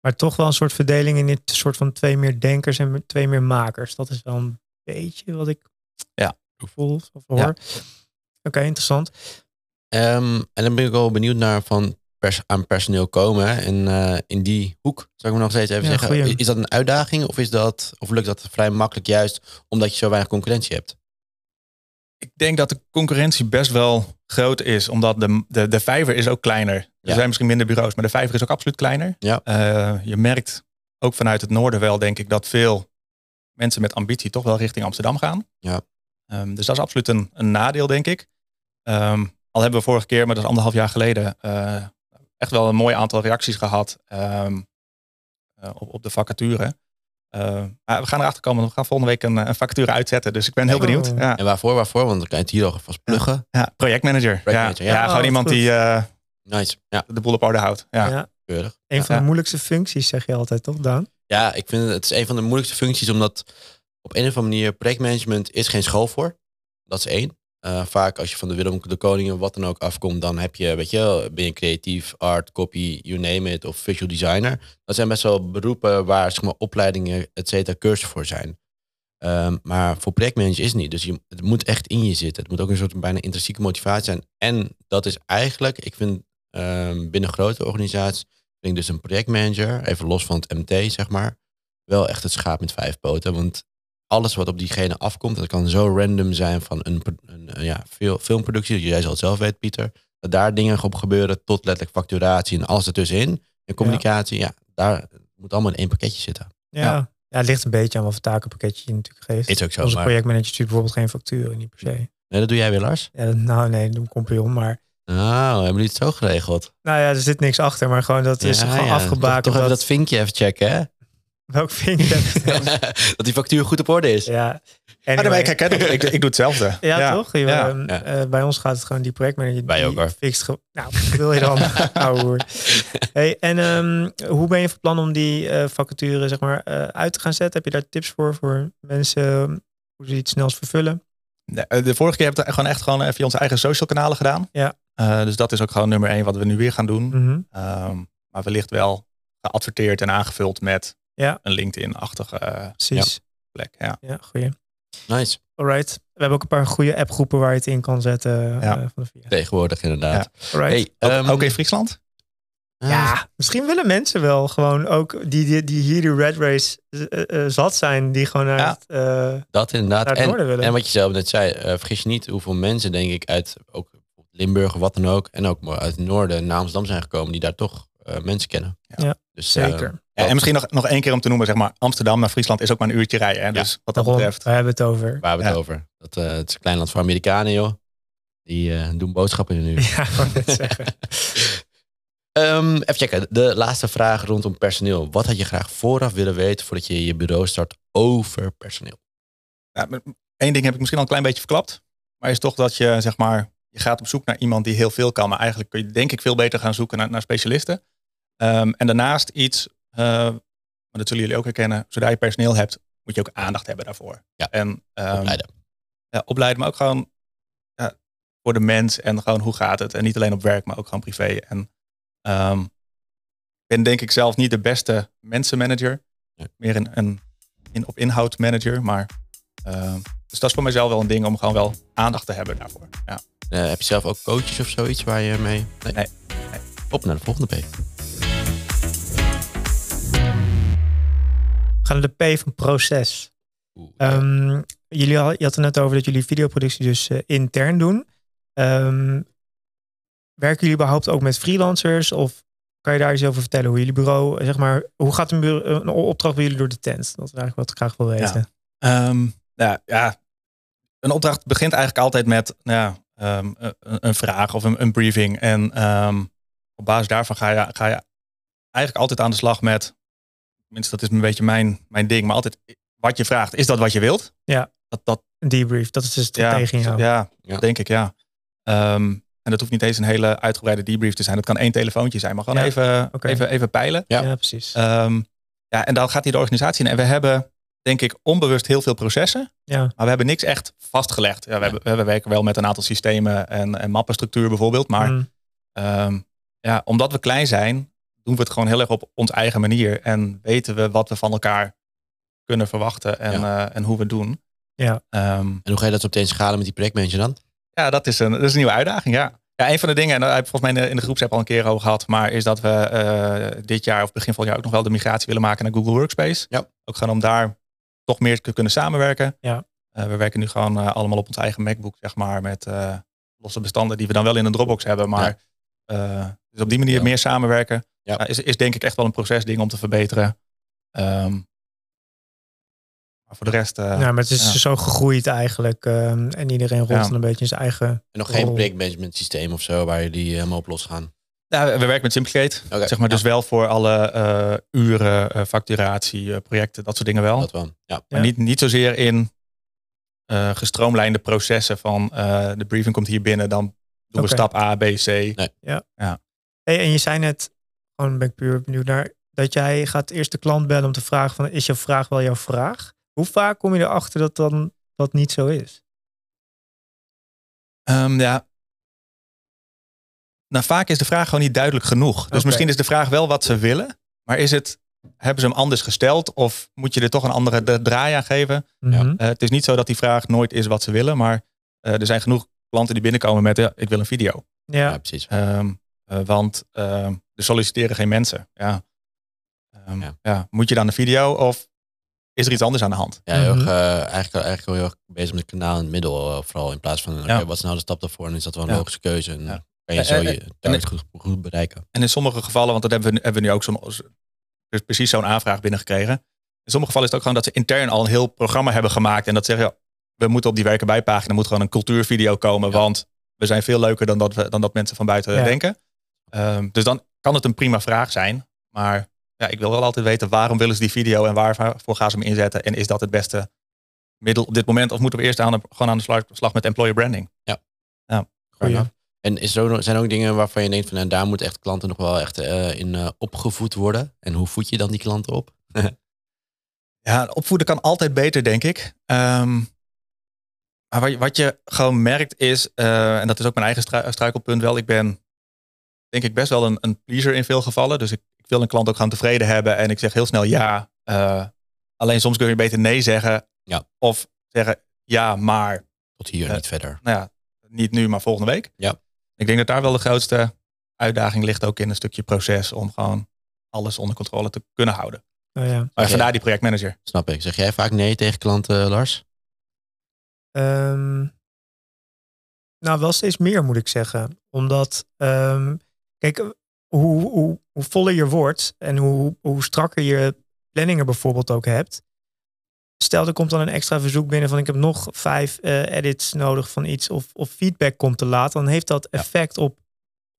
[SPEAKER 1] Maar toch wel een soort verdeling in dit soort van twee meer denkers en twee meer makers. Dat is wel een beetje wat ik
[SPEAKER 3] Ja.
[SPEAKER 1] voel of hoor.
[SPEAKER 3] Ja.
[SPEAKER 1] Oké, interessant.
[SPEAKER 2] Ehm, en dan ben ik wel benieuwd naar van pers aan personeel komen. hè. En eh, in die hoek, zou ik me nog steeds even
[SPEAKER 1] Ja,
[SPEAKER 2] zeggen.
[SPEAKER 1] goeie.
[SPEAKER 2] Is, is dat een uitdaging of, is dat, of lukt dat vrij makkelijk juist omdat je zo weinig concurrentie hebt?
[SPEAKER 3] ik denk dat de concurrentie best wel groot is, omdat de, de, de vijver is ook kleiner.
[SPEAKER 2] Ja.
[SPEAKER 3] Er zijn misschien minder bureaus, maar de vijver is ook absoluut kleiner.
[SPEAKER 2] Ja.
[SPEAKER 3] Eh, je merkt ook vanuit het noorden wel, denk ik, dat veel mensen met ambitie toch wel richting Amsterdam gaan.
[SPEAKER 2] Ja.
[SPEAKER 3] Ehm, dus dat is absoluut een, een nadeel, denk ik. Ehm, al hebben we vorige keer, maar dat is anderhalf jaar geleden, eh, echt wel een mooi aantal reacties gehad ehm, eh, op, op de vacature. Eh, maar we gaan erachter komen, we gaan volgende week een, eh, een vacature uitzetten. Dus ik ben heel
[SPEAKER 1] Oh.
[SPEAKER 3] benieuwd. Ja.
[SPEAKER 2] En waarvoor, waarvoor? Want dan kan je het hier alvast pluggen.
[SPEAKER 3] Ja, projectmanager.
[SPEAKER 2] Projectmanager,
[SPEAKER 3] ja.
[SPEAKER 2] ja.
[SPEAKER 3] Ja,
[SPEAKER 1] Oh,
[SPEAKER 3] gewoon
[SPEAKER 1] wat
[SPEAKER 3] iemand
[SPEAKER 1] goed.
[SPEAKER 3] die eh,
[SPEAKER 2] Nice. Ja,
[SPEAKER 3] de boel op orde houdt. Ja.
[SPEAKER 1] Ja.
[SPEAKER 2] keurig.
[SPEAKER 1] Een
[SPEAKER 2] Ja.
[SPEAKER 1] van de moeilijkste functies zeg je altijd, toch Daan?
[SPEAKER 2] Ja, ik vind het, het is een van de moeilijkste functies, omdat op een of andere manier projectmanagement is geen school voor. Dat is één. Eh, vaak als je van de Willem de Koning of wat dan ook afkomt, dan heb je, weet je, wel, ben je creatief, art, copy, you name it, of visual designer. Dat zijn best wel beroepen waar zeg maar, opleidingen, et cetera, cursussen voor zijn. Ehm, maar voor projectmanager is het niet. Dus je, het moet echt in je zitten. Het moet ook een soort bijna intrinsieke motivatie zijn. En dat is eigenlijk, ik vind ehm, binnen grote organisaties, vind ik dus een projectmanager, even los van het MT zeg maar, wel echt het schaap met vijf poten. Want alles wat op diegene afkomt, dat kan zo random zijn van een, pro- een, eh, ja, fil- filmproductie, jij zal het zelf weten Pieter, dat daar dingen op gebeuren tot letterlijk facturatie en alles ertussenin. En communicatie, ja, daar moet allemaal in één pakketje zitten.
[SPEAKER 1] Ja. ja.
[SPEAKER 3] Ja.
[SPEAKER 1] het ligt een beetje aan wat voor takenpakketje je natuurlijk geeft.
[SPEAKER 2] Is ook zo,
[SPEAKER 1] Onze
[SPEAKER 2] maar- Mm.
[SPEAKER 1] projectmanager stuurt bijvoorbeeld geen facturen, niet per se.
[SPEAKER 2] Nee, dat doe jij weer Lars?
[SPEAKER 1] Ja, dat- nou nee, doe een compagnon, maar...
[SPEAKER 2] Nou, hebben jullie het zo geregeld?
[SPEAKER 1] Nou ja, er zit niks achter, maar gewoon dat is
[SPEAKER 2] Ja,
[SPEAKER 1] gewoon
[SPEAKER 2] ja.
[SPEAKER 1] afgebakend.
[SPEAKER 2] Toch, toch even
[SPEAKER 1] dat-
[SPEAKER 2] dat vinkje even checken, hè?
[SPEAKER 1] Welk vinkje heb je?
[SPEAKER 2] dat die factuur goed op orde is.
[SPEAKER 1] ja.
[SPEAKER 3] Ah, Maar dan ben ik
[SPEAKER 1] Anyway.
[SPEAKER 3] herkend. Ik, ik doe hetzelfde.
[SPEAKER 1] Ja, toch? Je-
[SPEAKER 3] Ja.
[SPEAKER 1] ehm,
[SPEAKER 2] Ja.
[SPEAKER 1] eh, bij ons gaat het gewoon die projectmanager.
[SPEAKER 2] Wij
[SPEAKER 1] die
[SPEAKER 2] ook, hoor.
[SPEAKER 1] Fixt ge- nou, wat wil je dan? oh, ouwe hoer. Hey, en ehm, hoe ben je van plan om die eh, vacature zeg maar, eh, uit te gaan zetten? Heb je daar tips voor, voor mensen, hoe ze iets snels vervullen?
[SPEAKER 3] Nee, eh, De vorige keer hebben we het gewoon echt gewoon eh, via onze eigen social kanalen gedaan.
[SPEAKER 1] Ja.
[SPEAKER 3] Eh, dus dat is ook gewoon nummer één wat we nu weer gaan doen.
[SPEAKER 1] Mhm.
[SPEAKER 3] Ehm, maar wellicht wel geadverteerd en aangevuld met
[SPEAKER 1] Ja.
[SPEAKER 3] een LinkedIn-achtige eh,
[SPEAKER 1] Precies.
[SPEAKER 3] plek. Ja.
[SPEAKER 1] Ja, goeie.
[SPEAKER 2] Nice.
[SPEAKER 1] Alright. We hebben ook een paar goede appgroepen waar je het in kan zetten.
[SPEAKER 3] Ja.
[SPEAKER 1] eh, van de VIA.
[SPEAKER 2] Tegenwoordig inderdaad.
[SPEAKER 1] Alright.
[SPEAKER 2] Hey,
[SPEAKER 3] Ook,
[SPEAKER 2] ehm,
[SPEAKER 3] ook in Friesland?
[SPEAKER 2] ah,
[SPEAKER 1] Ja, misschien willen mensen wel gewoon ook die, die, die hier de Red Race eh, eh, zat zijn, die gewoon naar,
[SPEAKER 3] Ja.
[SPEAKER 1] het, eh, naar
[SPEAKER 2] Dat inderdaad.
[SPEAKER 1] het
[SPEAKER 2] en,
[SPEAKER 1] noorden willen.
[SPEAKER 2] en wat je zelf net zei, eh, vergis je niet hoeveel mensen, denk ik, uit ook Limburg of wat dan ook, en ook maar uit het noorden naar Amsterdam zijn gekomen, die daar toch eh, mensen kennen.
[SPEAKER 1] Ja,
[SPEAKER 2] dus, eh,
[SPEAKER 1] Zeker.
[SPEAKER 2] ja,
[SPEAKER 3] Ja, en misschien nog, nog één keer om te noemen, zeg maar, Amsterdam naar Friesland is ook maar een uurtje rijden. Hè? Dus wat dat
[SPEAKER 1] Daarom,
[SPEAKER 3] betreft.
[SPEAKER 1] waar hebben we het over?
[SPEAKER 2] Waar we het
[SPEAKER 3] Ja.
[SPEAKER 2] over. Dat, eh, het is een klein land voor Amerikanen, joh. Die eh, doen boodschappen in een uur.
[SPEAKER 1] Ja, ik wou net zeggen.
[SPEAKER 2] Ehm, even checken. De laatste vraag rondom personeel. Wat had je graag vooraf willen weten voordat je je bureau start over personeel?
[SPEAKER 3] Ja, maar één ding heb ik misschien al een klein beetje verklapt. Maar is toch dat je, zeg maar, je gaat op zoek naar iemand die heel veel kan. Maar eigenlijk kun je denk ik veel beter gaan zoeken naar, naar specialisten. Ehm, en daarnaast iets, eh, maar dat zullen jullie ook herkennen. Zodra je personeel hebt, moet je ook aandacht hebben daarvoor.
[SPEAKER 2] Ja,
[SPEAKER 3] en, ehm,
[SPEAKER 2] Opleiden.
[SPEAKER 3] ja, opleiden, maar ook gewoon ja, voor de mens en gewoon hoe gaat het. En niet alleen op werk, maar ook gewoon privé. En ehm, ik ben denk ik zelf niet de beste mensenmanager.
[SPEAKER 2] Nee.
[SPEAKER 3] Meer een, een in, op inhoud manager. Maar, ehm, dus dat is voor mijzelf wel een ding om gewoon wel aandacht te hebben daarvoor. Ja.
[SPEAKER 2] Eh, heb je zelf ook coaches of zoiets waar je mee...
[SPEAKER 3] Nee.
[SPEAKER 2] Op naar de volgende P.
[SPEAKER 1] We gaan naar de P van proces.
[SPEAKER 2] Oeh,
[SPEAKER 1] Ehm, jullie had, je had het net over dat jullie videoproductie dus eh, intern doen. Ehm, werken jullie überhaupt ook met freelancers? Of kan je daar iets over vertellen? Hoe jullie bureau, eh, zeg maar, hoe gaat een, bureau, een opdracht bij jullie door de tent? Dat is eigenlijk wat ik graag wil weten.
[SPEAKER 3] Ehm, nou ja, een opdracht begint eigenlijk altijd met nou ja, ehm, een, een vraag of een, een briefing. En ehm, op basis daarvan ga je, ga je eigenlijk altijd aan de slag met, tenminste dat is een beetje mijn, mijn ding, maar altijd wat je vraagt, is dat wat je wilt?
[SPEAKER 1] Ja.
[SPEAKER 3] Dat, dat,
[SPEAKER 1] Een debrief, dat is dus de strategie. in
[SPEAKER 3] ja,
[SPEAKER 1] jou.
[SPEAKER 3] ja,
[SPEAKER 2] Ja.
[SPEAKER 3] denk ik, ja. Ehm, en dat hoeft niet eens een hele uitgebreide debrief te zijn. Dat kan één telefoontje zijn, maar gewoon
[SPEAKER 1] Ja,
[SPEAKER 3] even,
[SPEAKER 1] oké.
[SPEAKER 3] even, even peilen.
[SPEAKER 2] ja.
[SPEAKER 1] Ja, precies.
[SPEAKER 3] Ehm, ja, en dan gaat hij de organisatie in. En we hebben, denk ik, onbewust heel veel processen.
[SPEAKER 1] Ja.
[SPEAKER 3] Maar we hebben niks echt vastgelegd. Ja, we, hebben, we werken wel met een aantal systemen en, en mappenstructuur bijvoorbeeld. Maar
[SPEAKER 1] Mm,
[SPEAKER 3] ehm, ja, omdat we klein zijn, doen we het gewoon heel erg op onze eigen manier. En weten we wat we van elkaar kunnen verwachten en, eh, en hoe we het doen.
[SPEAKER 1] Ja.
[SPEAKER 3] Ehm,
[SPEAKER 2] En hoe ga je dat op de schalen met die projectmanager dan?
[SPEAKER 3] ja, dat is een, dat is een nieuwe uitdaging, ja. Ja, een van de dingen, en daar heb ik volgens mij in de- in de groepsapp al een keer over gehad, maar is dat we eh, dit jaar of begin volgend jaar ook nog wel de migratie willen maken naar Google Workspace.
[SPEAKER 2] Ja.
[SPEAKER 3] Ook gewoon om daar toch meer te kunnen samenwerken.
[SPEAKER 1] Ja.
[SPEAKER 3] Eh, we werken nu gewoon eh, allemaal op ons eigen MacBook, zeg maar, met eh, losse bestanden die we dan wel in een Dropbox hebben. Maar eh, dus op die manier
[SPEAKER 2] Ja.
[SPEAKER 3] meer samenwerken
[SPEAKER 2] Ja.
[SPEAKER 3] Ja, is, is denk ik echt wel een procesding om te verbeteren. Ehm, maar voor de rest, eh,
[SPEAKER 1] nou, maar het is
[SPEAKER 3] ja.
[SPEAKER 1] zo gegroeid eigenlijk. ehm, en iedereen rolt
[SPEAKER 3] Ja.
[SPEAKER 1] dan een beetje in zijn eigen.
[SPEAKER 2] En nog geen
[SPEAKER 1] Oh.
[SPEAKER 2] projectmanagement systeem of zo waar jullie eh, helemaal op los gaan?
[SPEAKER 3] Ja, we we werken met Simplicate.
[SPEAKER 2] Oké,
[SPEAKER 3] Zeg maar
[SPEAKER 2] Eh, ja.
[SPEAKER 3] dus wel voor alle eh, uren, eh, facturatie, eh, projecten, dat soort dingen wel.
[SPEAKER 2] Dat wel. Ja.
[SPEAKER 1] ja.
[SPEAKER 3] Maar niet, niet zozeer in eh, gestroomlijnde processen van eh, de briefing komt hier binnen, dan doen we
[SPEAKER 1] Oké.
[SPEAKER 3] stap A, B, C.
[SPEAKER 1] Hey, en je zei net, gewoon ben ik puur benieuwd naar, dat jij gaat eerst de klant bellen om te vragen van, is jouw vraag wel jouw vraag? Hoe vaak kom je erachter dat dan dat niet zo is?
[SPEAKER 3] Ehm, ja. Nou, vaak is de vraag gewoon niet duidelijk genoeg. Dus
[SPEAKER 1] Oké.
[SPEAKER 3] misschien is de vraag wel wat ze willen, maar is het, hebben ze hem anders gesteld of moet je er toch een andere de- draai aan geven?
[SPEAKER 1] Mhm.
[SPEAKER 3] Eh, het is niet zo dat die vraag nooit is wat ze willen, maar eh, er zijn genoeg klanten die binnenkomen met, ja, ik wil een video.
[SPEAKER 2] Ja.
[SPEAKER 1] Ja,
[SPEAKER 2] precies.
[SPEAKER 3] Ehm, eh, want ehm, er solliciteren geen mensen. Ja. Ehm,
[SPEAKER 2] Ja.
[SPEAKER 3] ja. Moet je dan een video of is er iets anders aan de hand?
[SPEAKER 2] Ja, heel erg,
[SPEAKER 1] Mhm.
[SPEAKER 2] eh, eigenlijk, eigenlijk heel erg bezig met het kanaal in het middel. eh, vooral in plaats van, oké,
[SPEAKER 3] Ja.
[SPEAKER 2] wat is nou de stap daarvoor? En is dat wel een
[SPEAKER 3] Ja.
[SPEAKER 2] logische keuze? En
[SPEAKER 3] Ja.
[SPEAKER 2] kan je zo
[SPEAKER 3] Eh, eh,
[SPEAKER 2] je target goed, goed bereiken?
[SPEAKER 3] En in sommige gevallen, want dat hebben we, nu- hebben we nu ook zo'n, dus precies zo'n aanvraag binnengekregen. In sommige gevallen is het ook gewoon dat ze intern al een heel programma hebben gemaakt. En dat zeggen, ja, we moeten op die werken bijpagina, er moet gewoon een cultuurvideo komen.
[SPEAKER 2] Ja.
[SPEAKER 3] Want we zijn veel leuker dan dat, we, dan dat mensen van buiten
[SPEAKER 1] Ja.
[SPEAKER 3] denken. Ehm, dus dan kan het een prima vraag zijn. Maar ja, ik wil wel altijd weten waarom willen ze die video en waarvoor gaan ze hem inzetten. En is dat het beste middel op dit moment? Of moeten we eerst aan de, gewoon aan de slag, slag met employer branding?
[SPEAKER 1] goeie.
[SPEAKER 2] Fair enough. En is er ook nog- zijn er ook dingen waarvan je denkt van, nou, daar moeten echt klanten nog wel echt eh, in eh, opgevoed worden? En hoe voed je dan die klanten op?
[SPEAKER 3] Ja, opvoeden kan altijd beter, denk ik. Ehm, maar wat, je- wat je gewoon merkt is, eh, en dat is ook mijn eigen strui- struikelpunt wel, ik ben denk ik best wel een, een pleaser in veel gevallen. Dus ik, ik wil een klant ook gaan tevreden hebben en ik zeg heel snel ja. eh, alleen soms kun je beter nee zeggen.
[SPEAKER 2] Ja.
[SPEAKER 3] Of zeggen ja, maar
[SPEAKER 2] Tot hier en
[SPEAKER 3] Ja.
[SPEAKER 2] niet verder.
[SPEAKER 3] nou ja, niet nu, maar volgende week.
[SPEAKER 2] Ja.
[SPEAKER 3] Ik denk dat daar wel de grootste uitdaging ligt ook in een stukje proces om gewoon alles onder controle te kunnen houden.
[SPEAKER 1] Oh ja.
[SPEAKER 3] Maar
[SPEAKER 2] Oké.
[SPEAKER 3] vandaar die projectmanager.
[SPEAKER 2] Snap ik. Zeg jij vaak nee tegen klanten, Lars?
[SPEAKER 1] Ehm, nou, wel steeds meer moet ik zeggen. Omdat, ehm, kijk, hoe, hoe, hoe voller je wordt en hoe, hoe strakker je planningen bijvoorbeeld ook hebt. Stel, er komt dan een extra verzoek binnen van ik heb nog vijf eh, edits nodig van iets of, of feedback komt te laat. Dan heeft dat effect op,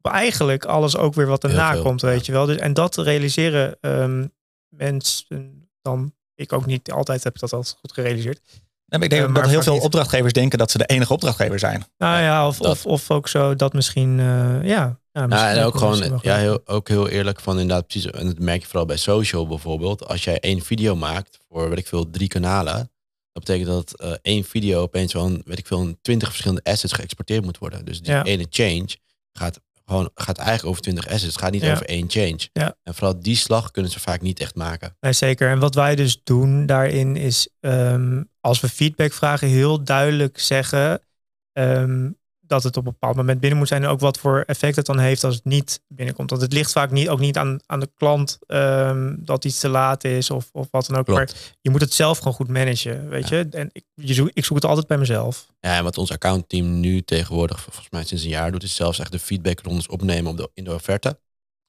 [SPEAKER 1] op eigenlijk alles ook weer wat erna
[SPEAKER 2] Heel veel,
[SPEAKER 1] komt, weet
[SPEAKER 2] ja.
[SPEAKER 1] je wel. Dus, en dat realiseren ehm, mensen dan, ik ook niet altijd heb ik dat altijd goed gerealiseerd.
[SPEAKER 3] Nee, maar ik denk
[SPEAKER 1] Eh,
[SPEAKER 3] ook
[SPEAKER 1] maar
[SPEAKER 3] dat heel
[SPEAKER 1] vaak
[SPEAKER 3] veel
[SPEAKER 1] niet.
[SPEAKER 3] opdrachtgevers denken dat ze de enige opdrachtgever zijn.
[SPEAKER 1] Nou ja, of,
[SPEAKER 2] dat.
[SPEAKER 1] of, of ook zo dat misschien, eh, ja. Ja,
[SPEAKER 2] Ja,
[SPEAKER 1] misschien
[SPEAKER 2] en ook
[SPEAKER 1] wel eens
[SPEAKER 2] gewoon
[SPEAKER 1] mag-
[SPEAKER 2] ja, heel, ook heel eerlijk van inderdaad precies. En dat merk je vooral bij social bijvoorbeeld. Als jij één video maakt voor, weet ik veel, drie kanalen. Dat betekent dat eh, één video opeens van, weet ik veel, twintig verschillende assets geëxporteerd moet worden. Dus die
[SPEAKER 1] Ja.
[SPEAKER 2] ene change gaat gewoon gaat eigenlijk over twintig assets. Het gaat niet
[SPEAKER 1] Ja.
[SPEAKER 2] over één change.
[SPEAKER 1] Ja.
[SPEAKER 2] En vooral die slag kunnen ze vaak niet echt maken.
[SPEAKER 1] Nee, zeker. En wat wij dus doen daarin is, ehm, als we feedback vragen, heel duidelijk zeggen ehm, dat het op een bepaald moment binnen moet zijn. En ook wat voor effect het dan heeft als het niet binnenkomt. Want het ligt vaak niet, ook niet aan, aan de klant ehm, dat iets te laat is of, of wat dan ook. Maar
[SPEAKER 2] Klopt.
[SPEAKER 1] je moet het zelf gewoon goed managen, weet je. En ik, je zoek, ik zoek het altijd bij mezelf.
[SPEAKER 2] Ja, en wat ons accountteam nu tegenwoordig, volgens mij sinds een jaar doet, is zelfs echt de feedbackrondes opnemen op de, in de offerte.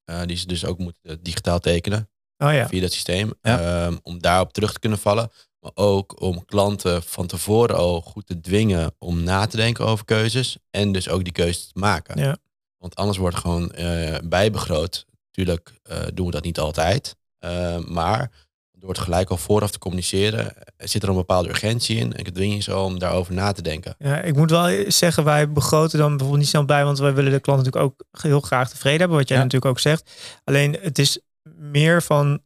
[SPEAKER 2] Eh, die ze dus ook moeten digitaal tekenen.
[SPEAKER 1] Oh ja,
[SPEAKER 2] via dat systeem.
[SPEAKER 3] Ja.
[SPEAKER 2] Ehm, om daarop terug te kunnen vallen. Maar ook om klanten van tevoren al goed te dwingen om na te denken over keuzes. En dus ook die keuzes te maken.
[SPEAKER 1] Ja.
[SPEAKER 2] Want anders wordt gewoon eh, bijbegroot. Tuurlijk eh, doen we dat niet altijd. Eh, maar door het gelijk al vooraf te communiceren, eh, zit er een bepaalde urgentie in. En ik dwing je ze al om daarover na te denken.
[SPEAKER 1] Ja, ik moet wel zeggen, wij begroten dan bijvoorbeeld niet snel bij, want wij willen de klant natuurlijk ook heel graag tevreden hebben, wat jij
[SPEAKER 3] Ja.
[SPEAKER 1] natuurlijk ook zegt. Alleen het is meer van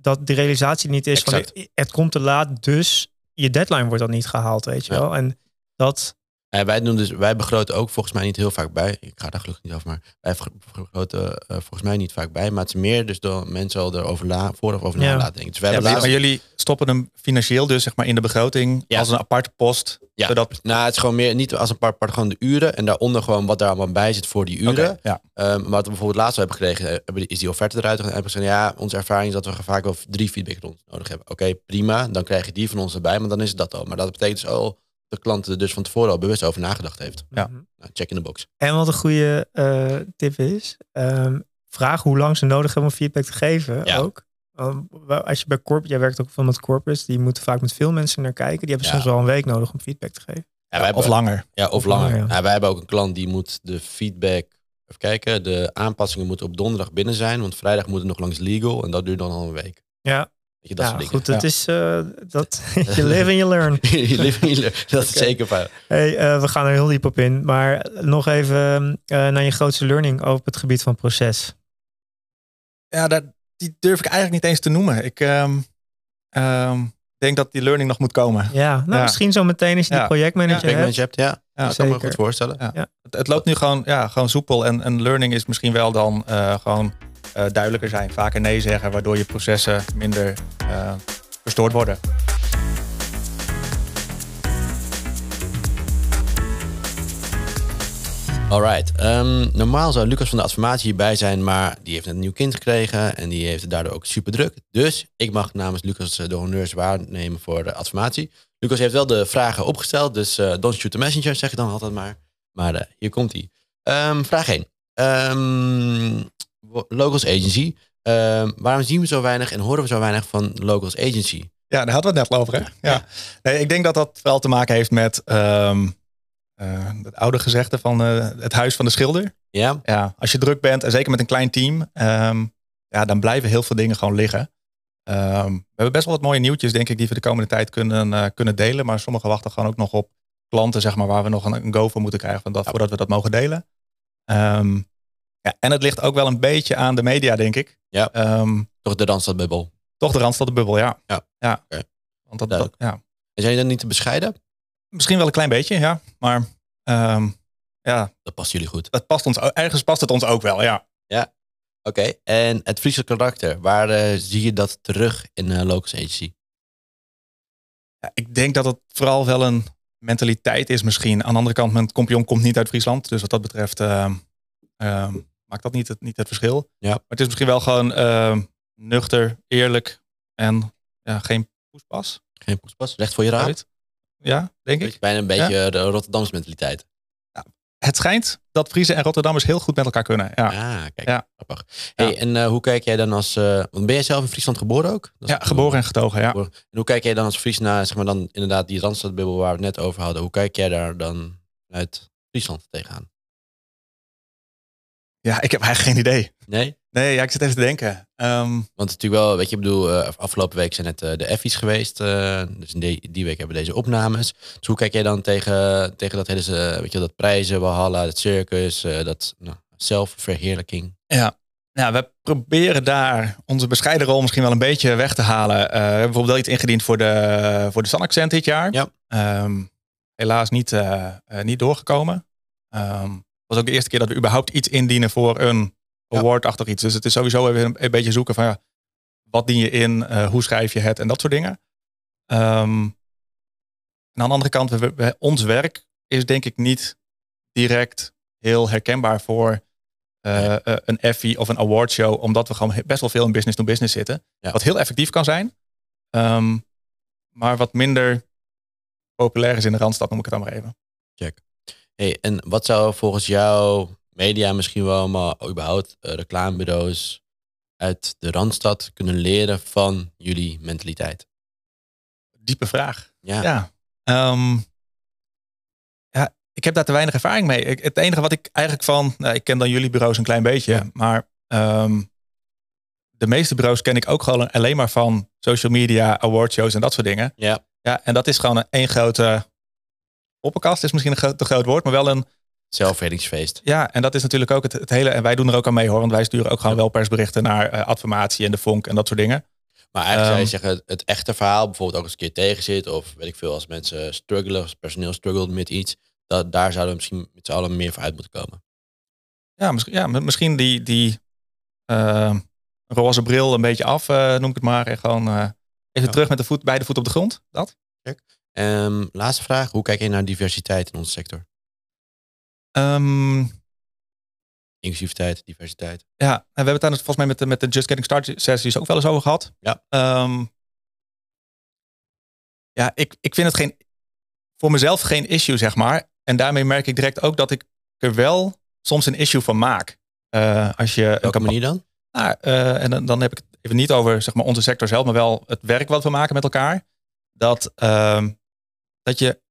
[SPEAKER 1] dat de realisatie niet is van
[SPEAKER 2] Exact.
[SPEAKER 1] het komt te laat, dus je deadline wordt dan niet gehaald, weet je
[SPEAKER 2] Ja.
[SPEAKER 1] wel. En dat,
[SPEAKER 2] Eh, wij, doen dus, wij begroten ook volgens mij niet heel vaak bij. Ik ga daar gelukkig niet over, maar wij ver- begroten eh, volgens mij niet vaak bij. Maar het is meer dus dat mensen al erover la, vooraf over
[SPEAKER 1] Ja.
[SPEAKER 2] na laten denken. Dus wij
[SPEAKER 3] Ja,
[SPEAKER 2] hebben
[SPEAKER 3] maar, maar
[SPEAKER 2] laatst,
[SPEAKER 3] jullie stoppen hem financieel dus zeg maar in de begroting
[SPEAKER 2] Ja.
[SPEAKER 3] als een aparte post.
[SPEAKER 2] Ja.
[SPEAKER 3] Zodat,
[SPEAKER 2] nou, het is gewoon meer niet als een paar, paar gewoon de uren. En daaronder gewoon wat daar allemaal bij zit voor die uren.
[SPEAKER 3] Oké, ja.
[SPEAKER 2] Ehm, wat we bijvoorbeeld laatst hebben gekregen, eh, hebben die- is die offerte eruit. gegaan. En hebben we gezegd, ja, onze ervaring is dat we vaak wel drie feedbackrondes nodig hebben. Oké, prima. Dan krijg je die van ons erbij, maar dan is het dat al. Maar dat betekent dus al dat de klant er dus van tevoren al bewust over nagedacht heeft.
[SPEAKER 3] Ja.
[SPEAKER 2] Nou, check in de box.
[SPEAKER 1] en wat een goede eh, tip is, ehm, vraag hoe lang ze nodig hebben om feedback te geven
[SPEAKER 2] Ja.
[SPEAKER 1] ook. Want als je bij corp, jij werkt ook veel met corporates, die moeten vaak met veel mensen naar kijken. Die hebben
[SPEAKER 2] Ja.
[SPEAKER 1] soms wel een week nodig om feedback te geven.
[SPEAKER 2] Ja, wij hebben-
[SPEAKER 3] of langer.
[SPEAKER 2] Ja, of,
[SPEAKER 1] Of
[SPEAKER 2] langer.
[SPEAKER 1] langer, ja.
[SPEAKER 2] Nou, wij hebben ook een klant die moet de feedback. Even kijken, de aanpassingen moeten op donderdag binnen zijn, want vrijdag moet het nog langs legal en dat duurt dan al een week.
[SPEAKER 1] Ja.
[SPEAKER 2] Weet je, dat
[SPEAKER 1] ja,
[SPEAKER 2] soort dingen.
[SPEAKER 1] goed, het is eh, dat je live and you learn.
[SPEAKER 2] Je leeft niet leuk. dat is
[SPEAKER 1] Oké.
[SPEAKER 2] zeker fijn.
[SPEAKER 1] Hey, eh, we gaan er heel diep op in. Maar nog even eh, naar je grootste learning over het gebied van proces.
[SPEAKER 3] Ja, daar, die durf ik eigenlijk niet eens te noemen. Ik ehm, ehm, denk dat die learning nog moet komen.
[SPEAKER 1] Ja, nou
[SPEAKER 3] Ja.
[SPEAKER 1] misschien zo meteen als je
[SPEAKER 3] Ja.
[SPEAKER 1] die projectmanager
[SPEAKER 2] Big
[SPEAKER 1] hebt.
[SPEAKER 2] Manage hebt, ja.
[SPEAKER 3] Ja,
[SPEAKER 2] dat kan ik me
[SPEAKER 1] zeker.
[SPEAKER 2] goed voorstellen.
[SPEAKER 3] Het, het loopt nu gewoon, ja, gewoon soepel en, en learning is misschien wel dan eh, gewoon eh, duidelijker zijn. Vaker nee zeggen, waardoor je processen minder eh, verstoord worden.
[SPEAKER 2] Alright. Ehm, normaal zou Lucas van de Adformatie hierbij zijn, maar die heeft net een nieuw kind gekregen en die heeft het daardoor ook super druk. Dus ik mag namens Lucas eh, de honneurs waarnemen voor de Adformatie. Lucas heeft wel de vragen opgesteld, dus eh, don't shoot the messenger, zeg ik dan altijd maar. Maar eh, hier komt hij. Ehm, vraag 1. locals Agency. Ehm, waarom zien we zo weinig en horen we zo weinig van Locals Agency?
[SPEAKER 3] Ja, daar hadden we het net al over, hè? Ja. Nee, ik denk dat dat vooral te maken heeft met ehm, eh, het oude gezegde van eh, het huis van de schilder.
[SPEAKER 2] Ja?
[SPEAKER 3] Ja, als je druk bent, en zeker met een klein team, ehm, ja, dan blijven heel veel dingen gewoon liggen. Ehm, we hebben best wel wat mooie nieuwtjes, denk ik, die we de komende tijd kunnen, eh, kunnen delen. Maar sommige wachten gewoon ook nog op klanten, zeg maar, waar we nog een, een go voor moeten krijgen van dat, voordat we dat mogen delen. Ehm, ja, en het ligt ook wel een beetje aan de media, denk ik.
[SPEAKER 2] Ja.
[SPEAKER 3] Ehm,
[SPEAKER 2] Toch de Randstadbubbel.
[SPEAKER 3] toch de Randstadbubbel, ja.
[SPEAKER 2] Ja.
[SPEAKER 3] ja.
[SPEAKER 2] Oké.
[SPEAKER 3] Want dat, dat,
[SPEAKER 2] Duidelijk.
[SPEAKER 3] ja.
[SPEAKER 2] En zijn jullie dan niet te bescheiden?
[SPEAKER 3] Misschien wel een klein beetje, ja. Maar ehm, ja,
[SPEAKER 2] Dat past jullie goed.
[SPEAKER 3] dat past ons, o- ergens past het ons ook wel, ja.
[SPEAKER 2] Oké, en het Friese karakter, waar eh, zie je dat terug in eh Locals Agency?
[SPEAKER 3] Ja, ik denk dat het vooral wel een mentaliteit is misschien. Aan de andere kant, mijn kompion komt niet uit Friesland. Dus wat dat betreft ehm, ehm, maakt dat niet het, niet het verschil.
[SPEAKER 2] Ja.
[SPEAKER 3] Maar het is misschien wel gewoon ehm, nuchter, eerlijk en ja, geen poespas.
[SPEAKER 2] Geen poespas, recht voor je raad.
[SPEAKER 3] Uit. Ja, denk ik.
[SPEAKER 2] Beetje- Bijna een beetje de Rotterdamse mentaliteit.
[SPEAKER 3] het schijnt dat Friese en Rotterdammers heel goed met elkaar kunnen. Ja,
[SPEAKER 2] Ah, kijk,
[SPEAKER 3] Ja.
[SPEAKER 2] grappig.
[SPEAKER 3] Ja.
[SPEAKER 2] Hey, en eh, hoe kijk jij dan als... eh, want ben jij zelf in Friesland geboren ook? Dat is
[SPEAKER 3] ja
[SPEAKER 2] natuurlijk-
[SPEAKER 3] geboren en getogen, ja.
[SPEAKER 2] geboren. En hoe kijk jij dan als Fries naar, zeg maar dan inderdaad die Randstadbubbel waar we het net over hadden. Hoe kijk jij daar dan uit Friesland tegenaan?
[SPEAKER 3] Ja, ik heb eigenlijk geen idee.
[SPEAKER 2] Nee?
[SPEAKER 3] Nee, ja, ik zit even te denken. Ehm,
[SPEAKER 2] Want natuurlijk wel, weet je, ik bedoel, eh, afgelopen week zijn het eh, de Effies geweest. eh, dus in die, die week hebben we deze opnames. Dus hoe kijk jij dan tegen, tegen dat hele, eh, weet je, wel, dat prijzen, Walhalla, dat circus, eh, dat nou, zelfverheerlijking.
[SPEAKER 3] Nou, we proberen daar onze bescheiden rol misschien wel een beetje weg te halen. Eh, we hebben bijvoorbeeld wel iets ingediend voor de, voor de Sun-accent dit jaar.
[SPEAKER 2] Ja.
[SPEAKER 3] Ehm, helaas niet, eh, eh, niet doorgekomen. Ehm, Het was ook de eerste keer dat we überhaupt iets indienen voor een
[SPEAKER 2] Ja.
[SPEAKER 3] award-achtig iets. Dus het is sowieso even een, een beetje zoeken van ja, wat dien je in, eh, hoe schrijf je het en dat soort dingen. Ehm, en aan de andere kant, we- we- ons werk is denk ik niet direct heel herkenbaar voor eh,
[SPEAKER 2] Nee.
[SPEAKER 3] eh, een Effie of een awardshow, omdat we gewoon he- best wel veel in business-to-business zitten.
[SPEAKER 2] Ja.
[SPEAKER 3] Wat heel effectief kan zijn, ehm, maar wat minder populair is in de Randstad, noem ik het dan maar even.
[SPEAKER 2] Hey, en wat zou volgens jou media misschien wel, maar überhaupt eh, reclamebureaus uit de Randstad kunnen leren van jullie mentaliteit?
[SPEAKER 3] Diepe vraag.
[SPEAKER 2] Ja,
[SPEAKER 3] Ja. Ehm, ja, ik heb daar te weinig ervaring mee. Ik- het enige wat ik eigenlijk van, nou, ik ken dan jullie bureaus een klein beetje,
[SPEAKER 2] Ja.
[SPEAKER 3] maar ehm, de meeste bureaus ken ik ook gewoon alleen maar van social media, awardshows en dat soort dingen.
[SPEAKER 2] Ja.
[SPEAKER 3] Ja, en dat is gewoon een één grote poppenkast, is misschien een gro- te groot woord, maar wel een,
[SPEAKER 2] zelfredingsfeest.
[SPEAKER 3] ja, en dat is natuurlijk ook het, het hele, en wij doen er ook aan mee hoor, want wij sturen ook gewoon wel persberichten naar eh, Adformatie en de Vonk en dat soort dingen.
[SPEAKER 2] Maar eigenlijk zou je
[SPEAKER 3] Ehm.
[SPEAKER 2] zeggen, het, het echte verhaal bijvoorbeeld ook eens een keer tegen zit. Of weet ik veel, als mensen struggelen, als personeel struggelt met iets. Dat, daar zouden we misschien met z'n allen meer voor uit moeten komen.
[SPEAKER 3] Ja, misschien, ja, mi- misschien die, die eh, roze bril een beetje af, eh, noem ik het maar. En gewoon eh, even
[SPEAKER 2] Ja.
[SPEAKER 3] terug met de voet, beide voet op de grond. Dat.
[SPEAKER 2] Ehm, laatste vraag, hoe kijk je naar diversiteit in onze sector?
[SPEAKER 3] Ehm,
[SPEAKER 2] Inclusiviteit, diversiteit.
[SPEAKER 3] ja, en we hebben het daar dus volgens mij met de, met de Just Getting Started sessies ook wel eens over gehad.
[SPEAKER 2] Ja.
[SPEAKER 3] Ehm, ja, ik, ik vind het geen, voor mezelf geen issue, zeg maar. En daarmee merk ik direct ook dat ik er wel soms een issue van maak. Eh, als je een
[SPEAKER 2] Welke
[SPEAKER 3] campagne-
[SPEAKER 2] manier dan?
[SPEAKER 3] Nou, eh, en dan, dan heb ik het even niet over zeg maar, onze sector zelf, maar wel het werk wat we maken met elkaar. Dat, ehm, dat je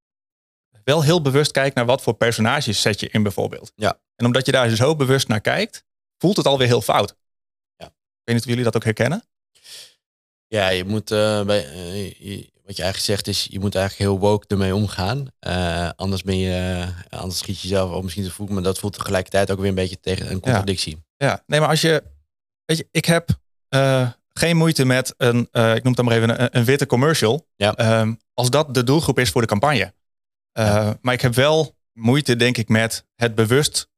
[SPEAKER 3] wel heel bewust kijkt naar wat voor personages zet je in bijvoorbeeld.
[SPEAKER 2] Ja.
[SPEAKER 3] En omdat je daar zo bewust naar kijkt, voelt het alweer heel fout.
[SPEAKER 2] Ja.
[SPEAKER 3] Ik weet niet of jullie dat ook herkennen.
[SPEAKER 2] Ja, je moet, eh, bij, eh, je- wat je eigenlijk zegt is, je moet eigenlijk heel woke ermee omgaan. Eh, anders ben je, eh, anders schiet je jezelf al misschien te voet. Maar dat voelt tegelijkertijd ook weer een beetje tegen een contradictie.
[SPEAKER 3] Ja, nee, maar als je. Weet je, ik heb eh, geen moeite met een. eh, ik noem het dan maar even een, een witte commercial.
[SPEAKER 2] Ja.
[SPEAKER 3] Ehm, als dat de doelgroep is voor de campagne. Eh, Maar ik heb wel moeite, denk ik, met het bewust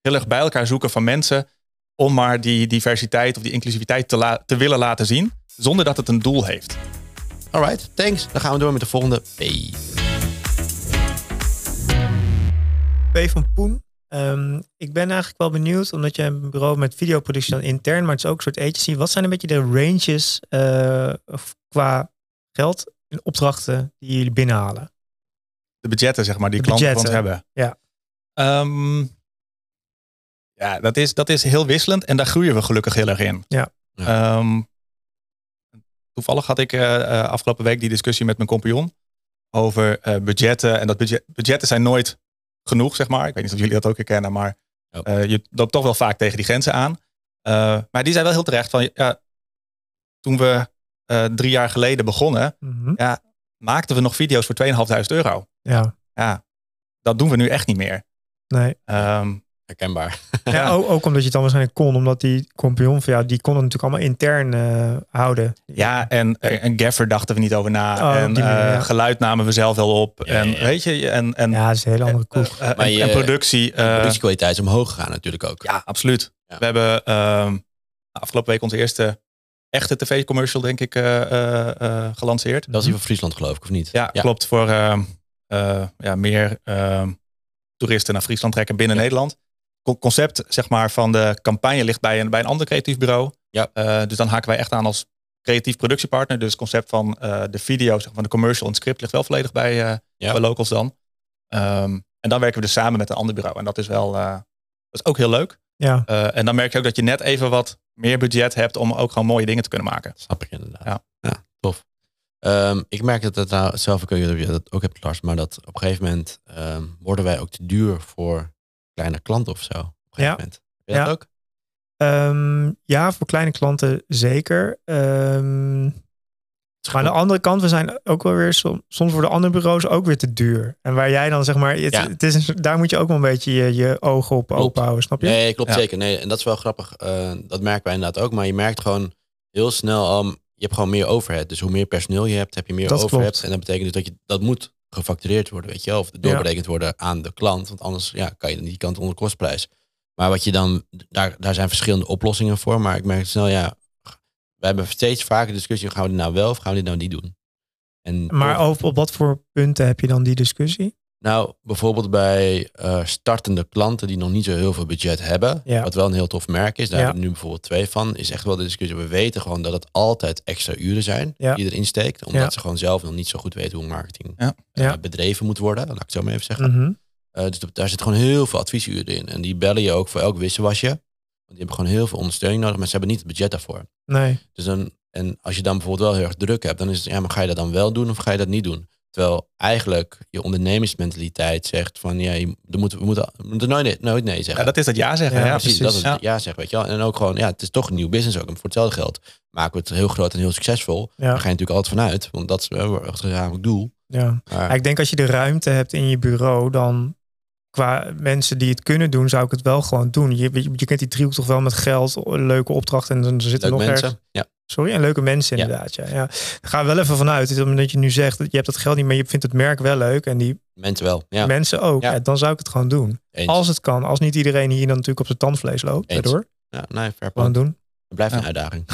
[SPEAKER 3] heel erg bij elkaar zoeken van mensen. om maar die diversiteit of die inclusiviteit te, la- te willen laten zien. zonder dat het een doel heeft.
[SPEAKER 2] Alright, thanks. Dan gaan we door met de volgende. P.
[SPEAKER 1] P van Poen. Ehm, ik ben eigenlijk wel benieuwd, omdat je een bureau met videoproductie dan intern, maar het is ook een soort agency. Wat zijn een beetje de ranges eh, of qua geld en opdrachten die jullie binnenhalen?
[SPEAKER 3] de budgetten, zeg maar, die
[SPEAKER 1] De
[SPEAKER 3] klanten van
[SPEAKER 1] budgetten,
[SPEAKER 3] ons
[SPEAKER 1] ja.
[SPEAKER 3] hebben. Ja. ja, dat is, dat is heel wisselend en daar groeien we gelukkig heel erg in.
[SPEAKER 1] Ja.
[SPEAKER 3] Ehm, toevallig had ik eh, eh, afgelopen week die discussie met mijn compagnon over eh, budgetten. En dat budget, budgetten zijn nooit genoeg, zeg maar. Ik weet niet of jullie dat ook herkennen, maar
[SPEAKER 2] Ja.
[SPEAKER 3] eh, je loopt toch wel vaak tegen die grenzen aan. Eh, maar die zijn wel heel terecht van, ja, toen we eh, drie jaar geleden begonnen,
[SPEAKER 1] Mhm.
[SPEAKER 3] maakten we nog video's voor 2.500 euro
[SPEAKER 1] Ja,
[SPEAKER 3] ja, dat doen we nu echt niet meer.
[SPEAKER 1] nee.
[SPEAKER 3] Ehm,
[SPEAKER 2] Herkenbaar.
[SPEAKER 1] Ja, Ook, ook omdat je het dan waarschijnlijk kon, omdat die compagnon van jou, die kon het natuurlijk allemaal intern eh, houden.
[SPEAKER 3] ja, en een gaffer dachten we niet over na.
[SPEAKER 1] Oh, op
[SPEAKER 3] en
[SPEAKER 1] die manier,
[SPEAKER 3] eh,
[SPEAKER 1] ja.
[SPEAKER 3] geluid namen we zelf wel op.
[SPEAKER 2] Ja,
[SPEAKER 3] en
[SPEAKER 2] ja, ja.
[SPEAKER 3] weet je, en, en,
[SPEAKER 1] Ja, dat is een hele andere koek.
[SPEAKER 3] eh, eh,
[SPEAKER 2] Maar
[SPEAKER 3] en-
[SPEAKER 2] je-
[SPEAKER 3] en productie. eh,
[SPEAKER 2] De productiekwaliteit is omhoog gegaan natuurlijk ook.
[SPEAKER 3] ja, absoluut.
[SPEAKER 2] Ja.
[SPEAKER 3] We hebben ehm, afgelopen week onze eerste echte tv-commercial, denk ik, eh, eh, eh, gelanceerd.
[SPEAKER 2] Dat is die van Friesland geloof ik, of niet?
[SPEAKER 3] Ja, klopt. Voor ehm, eh, ja, meer ehm, toeristen naar Friesland trekken binnen
[SPEAKER 2] Ja.
[SPEAKER 3] Nederland. Co- concept zeg maar, van de campagne ligt bij een, bij een ander creatief bureau.
[SPEAKER 2] Ja.
[SPEAKER 3] Eh, dus dan haken wij echt aan als creatief productiepartner. Dus het concept van eh, de video, zeg maar, van de commercial en het script ligt wel volledig bij, eh,
[SPEAKER 2] Ja.
[SPEAKER 3] bij locals dan. Ehm, En dan werken we dus samen met een ander bureau. En dat is wel, eh, dat is ook heel leuk.
[SPEAKER 1] Ja,
[SPEAKER 3] Eh, en dan merk je ook dat je net even wat meer budget hebt om ook gewoon mooie dingen te kunnen maken.
[SPEAKER 2] Snap ik inderdaad.
[SPEAKER 3] Ja.
[SPEAKER 2] tof. Ehm, ik merk dat het nou zelf, ik weet niet of je dat ook hebt, Lars, maar dat op een gegeven moment ehm, worden wij ook te duur voor kleine klanten of zo. Op een gegeven
[SPEAKER 1] Ja.
[SPEAKER 2] moment. Heb je dat
[SPEAKER 1] Ja.
[SPEAKER 2] ook?
[SPEAKER 1] Ehm, ja voor kleine klanten zeker. Ehm
[SPEAKER 2] Het is
[SPEAKER 1] Maar aan
[SPEAKER 2] gewoon-
[SPEAKER 1] de andere kant, we zijn ook wel weer som- soms voor de andere bureaus ook weer te duur. En waar jij dan zeg maar, het,
[SPEAKER 2] Ja.
[SPEAKER 1] het is, een- daar moet je ook wel een beetje je, je ogen op
[SPEAKER 2] Klopt.
[SPEAKER 1] open houden, snap je?
[SPEAKER 2] Nee, klopt
[SPEAKER 3] Ja.
[SPEAKER 2] zeker. Nee, en dat is wel grappig. Eh, dat merken wij inderdaad ook. Maar je merkt gewoon heel snel, al, je hebt gewoon meer overhead. Dus hoe meer personeel je hebt, heb je meer
[SPEAKER 1] Dat
[SPEAKER 2] overhead.
[SPEAKER 1] klopt.
[SPEAKER 2] En dat betekent dus dat je dat moet gefactureerd worden, weet je wel. Of doorberekend worden aan de klant. Want anders ja, kan je die kant onder kostprijs. Maar wat je dan, daar, daar zijn verschillende oplossingen voor. Maar ik merk snel, ja, we hebben steeds vaker de discussie, gaan we dit nou wel of gaan we dit nou niet doen? En
[SPEAKER 1] Maar op, op wat voor punten heb je dan die discussie?
[SPEAKER 2] nou, bijvoorbeeld bij eh, startende klanten die nog niet zo heel veel budget hebben.
[SPEAKER 1] Ja.
[SPEAKER 2] Wat wel een heel tof merk is. Daar
[SPEAKER 1] Ja.
[SPEAKER 2] hebben we nu bijvoorbeeld twee van. Is echt wel de discussie. We weten gewoon dat het altijd extra uren zijn
[SPEAKER 1] Ja.
[SPEAKER 2] die erin steekt. Omdat
[SPEAKER 1] Ja.
[SPEAKER 2] ze gewoon zelf nog niet zo goed weten hoe marketing
[SPEAKER 3] Ja.
[SPEAKER 2] eh,
[SPEAKER 1] Ja.
[SPEAKER 2] bedreven moet worden. Laat ik het zo maar even zeggen.
[SPEAKER 1] Mhm.
[SPEAKER 2] Eh, dus daar zit gewoon heel veel adviesuren in. En die bellen je ook voor elk wisselwasje. Want die hebben gewoon heel veel ondersteuning nodig. Maar ze hebben niet het budget daarvoor.
[SPEAKER 1] Nee,
[SPEAKER 2] Dus dan, en als je dan bijvoorbeeld wel heel erg druk hebt, dan is het, ja, maar ga je dat dan wel doen of ga je dat niet doen? Terwijl eigenlijk je ondernemingsmentaliteit zegt van, ja, je, er moet, we, moeten, we moeten nooit, nee- nooit nee zeggen.
[SPEAKER 3] Ja, dat is dat ja zeggen.
[SPEAKER 1] Ja,
[SPEAKER 3] Ja,
[SPEAKER 2] precies,
[SPEAKER 1] precies.
[SPEAKER 2] dat is het ja. zeg, weet je wel. En ook gewoon, ja, het is toch een nieuw business ook. En voor hetzelfde geld maken we het heel groot en heel succesvol.
[SPEAKER 1] Ja.
[SPEAKER 2] Daar ga je natuurlijk altijd vanuit, want dat is wel echt een gezamenlijk doel.
[SPEAKER 1] ja.
[SPEAKER 2] Maar,
[SPEAKER 1] Ja, Ik denk als je de ruimte hebt in je bureau, dan qua mensen die het kunnen doen, zou ik het wel gewoon doen. Je, je, je kent die driehoek toch wel met geld, leuke opdrachten en dan zitten
[SPEAKER 2] leuk
[SPEAKER 1] nog ergens-
[SPEAKER 2] mensen. Ja.
[SPEAKER 1] Sorry, en leuke mensen
[SPEAKER 2] Ja.
[SPEAKER 1] inderdaad. Ja. Ja. Ga er wel even vanuit, omdat je nu zegt, je hebt dat geld niet, maar je vindt het merk wel leuk en die
[SPEAKER 2] mensen wel. Ja,
[SPEAKER 1] mensen ook.
[SPEAKER 2] Ja.
[SPEAKER 1] Ja, dan zou ik het gewoon doen.
[SPEAKER 2] eens.
[SPEAKER 1] Als het kan. Als niet iedereen hier dan natuurlijk op zijn tandvlees loopt.
[SPEAKER 2] Eens.
[SPEAKER 1] Daardoor.
[SPEAKER 2] ja nee, fair
[SPEAKER 1] Gewoon
[SPEAKER 2] point.
[SPEAKER 1] doen.
[SPEAKER 2] Het blijft een
[SPEAKER 3] Ja.
[SPEAKER 2] uitdaging.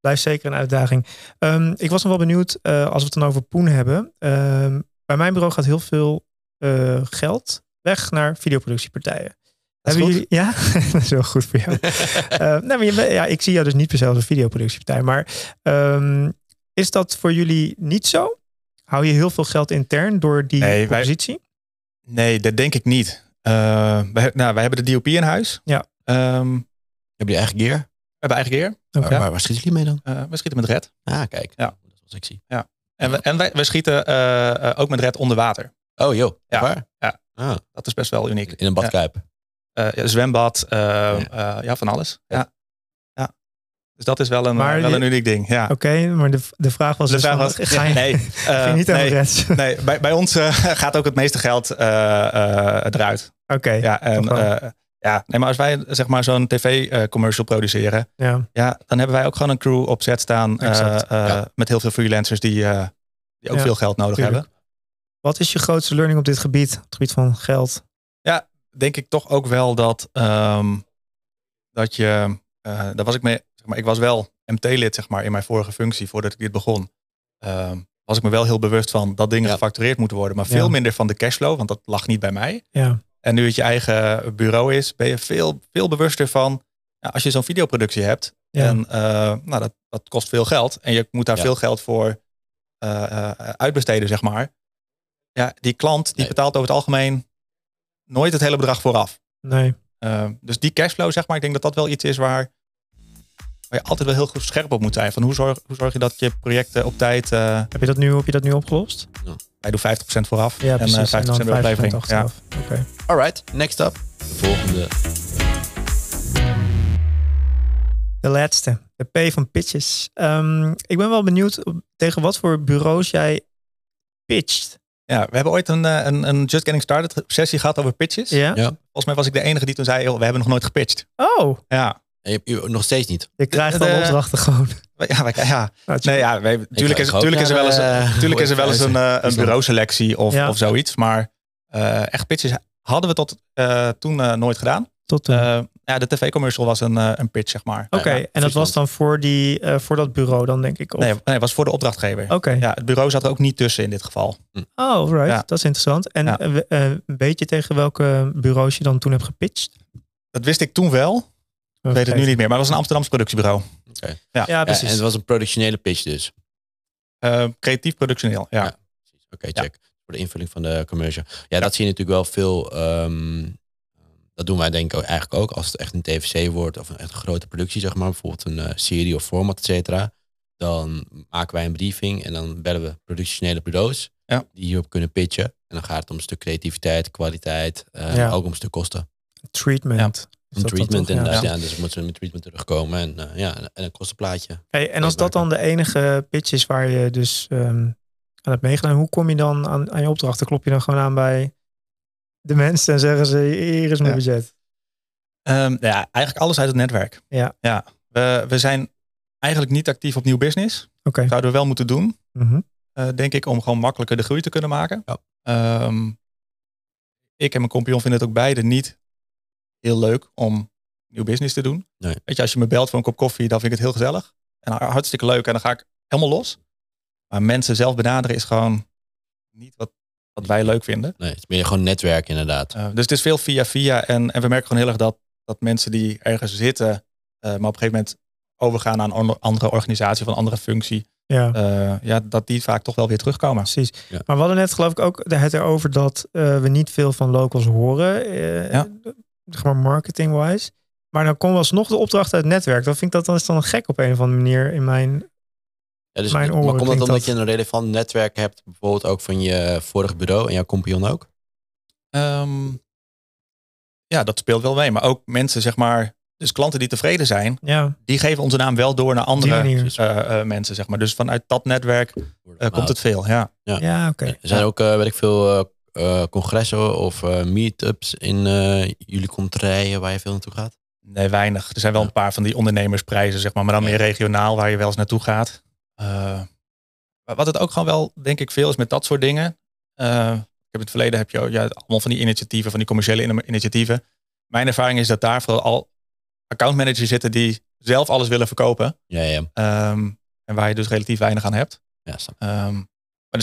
[SPEAKER 1] Blijft zeker een uitdaging. Ehm, ik was nog wel benieuwd, eh, als we het dan over Poen hebben. Ehm, bij mijn bureau gaat heel veel eh, geld weg naar videoproductiepartijen.
[SPEAKER 2] Dat is goed.
[SPEAKER 1] jullie, ja, dat is wel goed voor jou. Eh, nou, maar je bent- ja, ik zie jou dus niet per se als een videoproductiepartij. Maar ehm, is dat voor jullie niet zo? Hou je heel veel geld intern door die
[SPEAKER 3] Nee, wij-
[SPEAKER 1] propositie?
[SPEAKER 3] Nee, dat denk ik niet. Eh, wij, nou, wij hebben de DOP in huis.
[SPEAKER 1] Ja.
[SPEAKER 3] Ehm,
[SPEAKER 2] Heb je eigen gear?
[SPEAKER 3] we hebben eigen gear.
[SPEAKER 1] Oké.
[SPEAKER 2] Waar, waar, waar schieten jullie mee dan?
[SPEAKER 3] Eh, we schieten met red.
[SPEAKER 2] Ah, kijk.
[SPEAKER 3] Ja.
[SPEAKER 2] Dat is wel sexy.
[SPEAKER 3] En, we, en wij, wij schieten eh, eh, ook met red onder water.
[SPEAKER 2] Oh joh,
[SPEAKER 3] Ja.
[SPEAKER 2] waar?
[SPEAKER 3] Ja.
[SPEAKER 2] Ah,
[SPEAKER 3] Dat is best wel uniek.
[SPEAKER 2] in een badkuip.
[SPEAKER 3] Eh, ja, zwembad, eh, eh, ja, van alles. Ja. Ja. Dus dat is wel een,
[SPEAKER 1] Maar
[SPEAKER 3] wel
[SPEAKER 1] die-
[SPEAKER 3] een uniek ding. Ja.
[SPEAKER 1] Oké, maar de, de vraag was
[SPEAKER 3] De
[SPEAKER 1] dus
[SPEAKER 3] vraag
[SPEAKER 1] van,
[SPEAKER 3] was,
[SPEAKER 1] ga je,
[SPEAKER 3] nee,
[SPEAKER 1] ga je
[SPEAKER 3] eh,
[SPEAKER 1] niet aan de
[SPEAKER 3] nee,
[SPEAKER 1] rest? Oké,
[SPEAKER 3] nee, bij, bij ons eh, gaat ook het meeste geld eh, eh, eruit.
[SPEAKER 1] ja.
[SPEAKER 3] Ja, en,
[SPEAKER 1] toch wel.
[SPEAKER 3] eh, ja. Nee, maar als wij zeg maar zo'n tv-commercial produceren, ja, dan hebben wij ook gewoon een crew op set staan eh,
[SPEAKER 1] Exact.
[SPEAKER 3] eh,
[SPEAKER 2] Ja.
[SPEAKER 3] met heel veel freelancers die, eh, die ook
[SPEAKER 1] Ja,
[SPEAKER 3] veel geld nodig
[SPEAKER 1] tuurlijk.
[SPEAKER 3] hebben.
[SPEAKER 1] Wat is je grootste learning op dit gebied? Op het gebied van geld?
[SPEAKER 3] denk ik toch ook wel dat, ehm, dat je, eh, daar was ik mee, zeg maar, ik was wel MT-lid zeg maar in mijn vorige functie voordat ik dit begon. Ehm, was ik me wel heel bewust van dat dingen
[SPEAKER 2] Ja.
[SPEAKER 3] gefactureerd moeten worden, maar
[SPEAKER 1] Ja.
[SPEAKER 3] veel minder van de cashflow, want dat lag niet bij mij.
[SPEAKER 1] Ja,
[SPEAKER 3] En nu het je eigen bureau is, ben je veel, veel bewuster van, ja, als je zo'n videoproductie hebt,
[SPEAKER 1] ja.
[SPEAKER 3] en eh, nou, dat, dat kost veel geld en je moet daar
[SPEAKER 2] Ja.
[SPEAKER 3] veel geld voor eh, eh, uitbesteden, zeg maar. Ja, die klant die
[SPEAKER 2] Nee.
[SPEAKER 3] betaalt over het algemeen nooit het hele bedrag vooraf.
[SPEAKER 1] nee.
[SPEAKER 3] Eh, dus die cashflow, zeg maar, ik denk dat dat wel iets is waar, waar je altijd wel heel goed scherp op moet zijn. Van hoe zorg, hoe zorg je dat je projecten op tijd. eh
[SPEAKER 1] Heb je dat nu, heb je dat nu opgelost?
[SPEAKER 3] wij doen 50% vooraf
[SPEAKER 1] Ja,
[SPEAKER 3] en eh,
[SPEAKER 1] precies.
[SPEAKER 3] 50% bij de aflevering. Ja.
[SPEAKER 1] achteraf. Oké.
[SPEAKER 2] Alright, next up. De volgende.
[SPEAKER 1] De laatste. De P van pitches. Ehm, ik ben wel benieuwd op- tegen wat voor bureaus jij pitcht.
[SPEAKER 3] ja, we hebben ooit een, eh, een, een Just Getting Started sessie gehad over pitches.
[SPEAKER 1] Ja?
[SPEAKER 2] Ja.
[SPEAKER 3] Volgens mij was ik de enige die toen zei: joh, we hebben nog nooit gepitcht.
[SPEAKER 1] Oh,
[SPEAKER 3] Ja,
[SPEAKER 2] En je, je- nog steeds niet.
[SPEAKER 1] je krijgt
[SPEAKER 3] De-
[SPEAKER 1] alle opdrachten gewoon.
[SPEAKER 3] Wij- ja, wij- ja.
[SPEAKER 1] Nou,
[SPEAKER 3] Nee, ja wij- natuurlijk
[SPEAKER 2] ik
[SPEAKER 3] is,
[SPEAKER 2] ga ook
[SPEAKER 3] natuurlijk is er
[SPEAKER 2] naar
[SPEAKER 3] wel eens,
[SPEAKER 2] de, eh,
[SPEAKER 3] natuurlijk is er wel eens een, eh, een
[SPEAKER 2] Island.
[SPEAKER 3] bureauselectie of,
[SPEAKER 1] Ja.
[SPEAKER 3] of zoiets. Maar eh, echt pitches hadden we tot eh, toen eh, nooit gedaan.
[SPEAKER 1] Tot toen.
[SPEAKER 3] Eh, ja, de tv-commercial was een, eh, een pitch, zeg maar.
[SPEAKER 1] Oké,
[SPEAKER 2] ja,
[SPEAKER 1] en dat was dan voor, die, eh, voor dat bureau dan, denk ik? of-
[SPEAKER 3] Nee, nee, was voor de opdrachtgever.
[SPEAKER 1] Oh. Oké.
[SPEAKER 3] Ja, het bureau zat er ook niet tussen in dit geval.
[SPEAKER 1] Oh, right.
[SPEAKER 3] Ja.
[SPEAKER 1] Dat is interessant. En
[SPEAKER 3] Ja.
[SPEAKER 1] eh, we- eh, weet je tegen welke bureaus je dan toen hebt gepitcht?
[SPEAKER 3] Dat wist ik toen wel. Ik weet het nu niet meer. Maar het was een Amsterdams productiebureau.
[SPEAKER 1] Ja,
[SPEAKER 2] Ja, en
[SPEAKER 1] precies.
[SPEAKER 2] het was een productionele pitch dus.
[SPEAKER 3] Eh, creatief productioneel, ja.
[SPEAKER 2] Ja. Oké,
[SPEAKER 3] Ja.
[SPEAKER 2] check. voor de invulling van de commercial. Ja, dat zie je natuurlijk wel veel. ehm, dat doen wij denk ik ook- eigenlijk ook als het echt een TVC wordt of een echt grote productie, zeg maar, bijvoorbeeld een eh, serie of format, et cetera. Dan maken wij een briefing en dan bellen we productionele bureaus
[SPEAKER 3] Ja.
[SPEAKER 2] die hierop kunnen pitchen. En dan gaat het om een stuk creativiteit, kwaliteit, eh,
[SPEAKER 1] Ja.
[SPEAKER 2] ook om een stuk kosten.
[SPEAKER 1] Treatment. Is
[SPEAKER 2] Een
[SPEAKER 1] dat dan
[SPEAKER 2] treatment
[SPEAKER 1] toch? Ja.
[SPEAKER 2] inderdaad, ja. Dus we moeten met treatment terugkomen en, eh, ja, en een kostenplaatje.
[SPEAKER 1] Hey, en als dat dan de enige pitch is waar je dus ehm, aan hebt meegedaan, hoe kom je dan aan, aan je opdrachten? Klop je dan gewoon aan bij de mensen en zeggen ze, hier is mijn
[SPEAKER 3] Ja.
[SPEAKER 1] budget.
[SPEAKER 3] Ehm, nou ja, eigenlijk alles uit het netwerk.
[SPEAKER 1] Ja.
[SPEAKER 3] ja. We, we zijn eigenlijk niet actief op nieuw business.
[SPEAKER 1] Oké.
[SPEAKER 3] Zouden we wel moeten doen.
[SPEAKER 1] Mhm.
[SPEAKER 3] eh, denk ik, om gewoon makkelijker de groei te kunnen maken.
[SPEAKER 2] Ja.
[SPEAKER 3] Ehm, ik en mijn compagnon vinden het ook beide niet heel leuk om nieuw business te doen.
[SPEAKER 2] Nee.
[SPEAKER 3] Weet je, als je me belt voor een kop koffie, dan vind ik het heel gezellig. En ha- hartstikke leuk en dan ga ik helemaal los. Maar mensen zelf benaderen is gewoon niet wat, wat wij leuk vinden.
[SPEAKER 2] Nee, het is meer gewoon netwerk inderdaad.
[SPEAKER 3] Eh, dus het is veel via via. En, en we merken gewoon heel erg dat, dat mensen die ergens zitten, eh, maar op een gegeven moment overgaan naar een ander- andere organisatie of een andere functie,
[SPEAKER 1] Ja.
[SPEAKER 3] eh, ja, dat die vaak toch wel weer terugkomen.
[SPEAKER 1] Precies.
[SPEAKER 2] Ja.
[SPEAKER 1] Maar we hadden net geloof ik ook het erover dat eh, we niet veel van locals horen. eh,
[SPEAKER 3] Ja.
[SPEAKER 1] Zeg maar marketing-wise. Maar dan komt alsnog de opdracht uit het netwerk. Dan vind ik dat dan is dan gek op een of andere manier in mijn...
[SPEAKER 2] Ja, dus,
[SPEAKER 1] Mijn oren
[SPEAKER 2] maar komt dat
[SPEAKER 1] klinkt
[SPEAKER 2] omdat
[SPEAKER 1] dat-
[SPEAKER 2] je een relevant netwerk hebt, bijvoorbeeld ook van je vorig bureau en jouw compagnon ook?
[SPEAKER 3] Ehm, ja, dat speelt wel mee. Maar ook mensen, zeg maar, dus klanten die tevreden zijn,
[SPEAKER 1] Ja,
[SPEAKER 3] die geven onze naam wel door naar andere
[SPEAKER 1] manier.
[SPEAKER 2] Precies.
[SPEAKER 3] eh, eh, mensen, zeg maar. Dus vanuit dat netwerk eh,
[SPEAKER 2] Worden
[SPEAKER 3] komt het veel, ja.
[SPEAKER 1] ja. oké.
[SPEAKER 2] Er zijn ook, eh weet ik veel, eh, eh, congressen of eh meetups in eh, jullie contraien waar je veel naartoe gaat?
[SPEAKER 3] Nee, weinig. Er zijn wel
[SPEAKER 2] Ja.
[SPEAKER 3] een paar van die ondernemersprijzen, zeg maar, maar dan
[SPEAKER 2] Ja.
[SPEAKER 3] meer regionaal waar je wel eens naartoe gaat. Eh, maar wat het ook gewoon wel, denk ik, veel is met dat soort dingen. Eh, ik heb in het verleden heb je ook, ja, allemaal van die initiatieven, van die commerciële in- initiatieven. Mijn ervaring is dat daar vooral al accountmanagers zitten die zelf alles willen verkopen.
[SPEAKER 2] Ja, ja.
[SPEAKER 3] Ehm, en waar je dus relatief weinig aan hebt.
[SPEAKER 2] ja snap.
[SPEAKER 3] Ehm, maar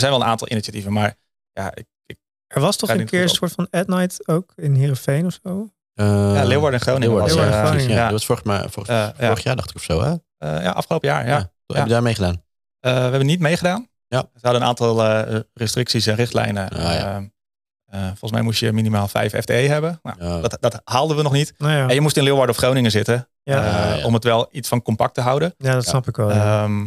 [SPEAKER 3] er zijn wel een aantal initiatieven. Maar ja, ik, ik,
[SPEAKER 1] Er was toch
[SPEAKER 3] Kan
[SPEAKER 1] een
[SPEAKER 3] niet
[SPEAKER 1] keer een
[SPEAKER 3] goed
[SPEAKER 1] soort van at night ook in Heerenveen of zo?
[SPEAKER 2] Eh,
[SPEAKER 3] ja, Leeuwarden en Groningen was,
[SPEAKER 1] Leeuwarden,
[SPEAKER 3] eh,
[SPEAKER 1] Groningen,
[SPEAKER 2] precies, ja.
[SPEAKER 3] ja.
[SPEAKER 2] Dat was vorig, maar, vorig,
[SPEAKER 3] Eh, ja.
[SPEAKER 2] vorig jaar dacht ik of zo, hè? Ja.
[SPEAKER 3] eh, ja, afgelopen jaar. Ja.
[SPEAKER 2] Heb je daarmee gedaan?
[SPEAKER 3] Eh, we hebben niet meegedaan.
[SPEAKER 2] Ja.
[SPEAKER 3] Ze hadden een aantal eh, restricties en richtlijnen.
[SPEAKER 2] Ah, ja.
[SPEAKER 3] Ehm, eh, volgens mij moest je minimaal 5 FTE hebben. Nou,
[SPEAKER 2] Ja.
[SPEAKER 3] dat, dat haalden we nog niet.
[SPEAKER 1] Nou ja,
[SPEAKER 3] En je moest in Leeuwarden of Groningen zitten.
[SPEAKER 1] ja.
[SPEAKER 2] Ah,
[SPEAKER 3] eh,
[SPEAKER 2] ja.
[SPEAKER 3] Om het wel iets van compact te houden.
[SPEAKER 1] ja dat
[SPEAKER 2] ja.
[SPEAKER 1] snap ik wel. ja.
[SPEAKER 3] Ehm,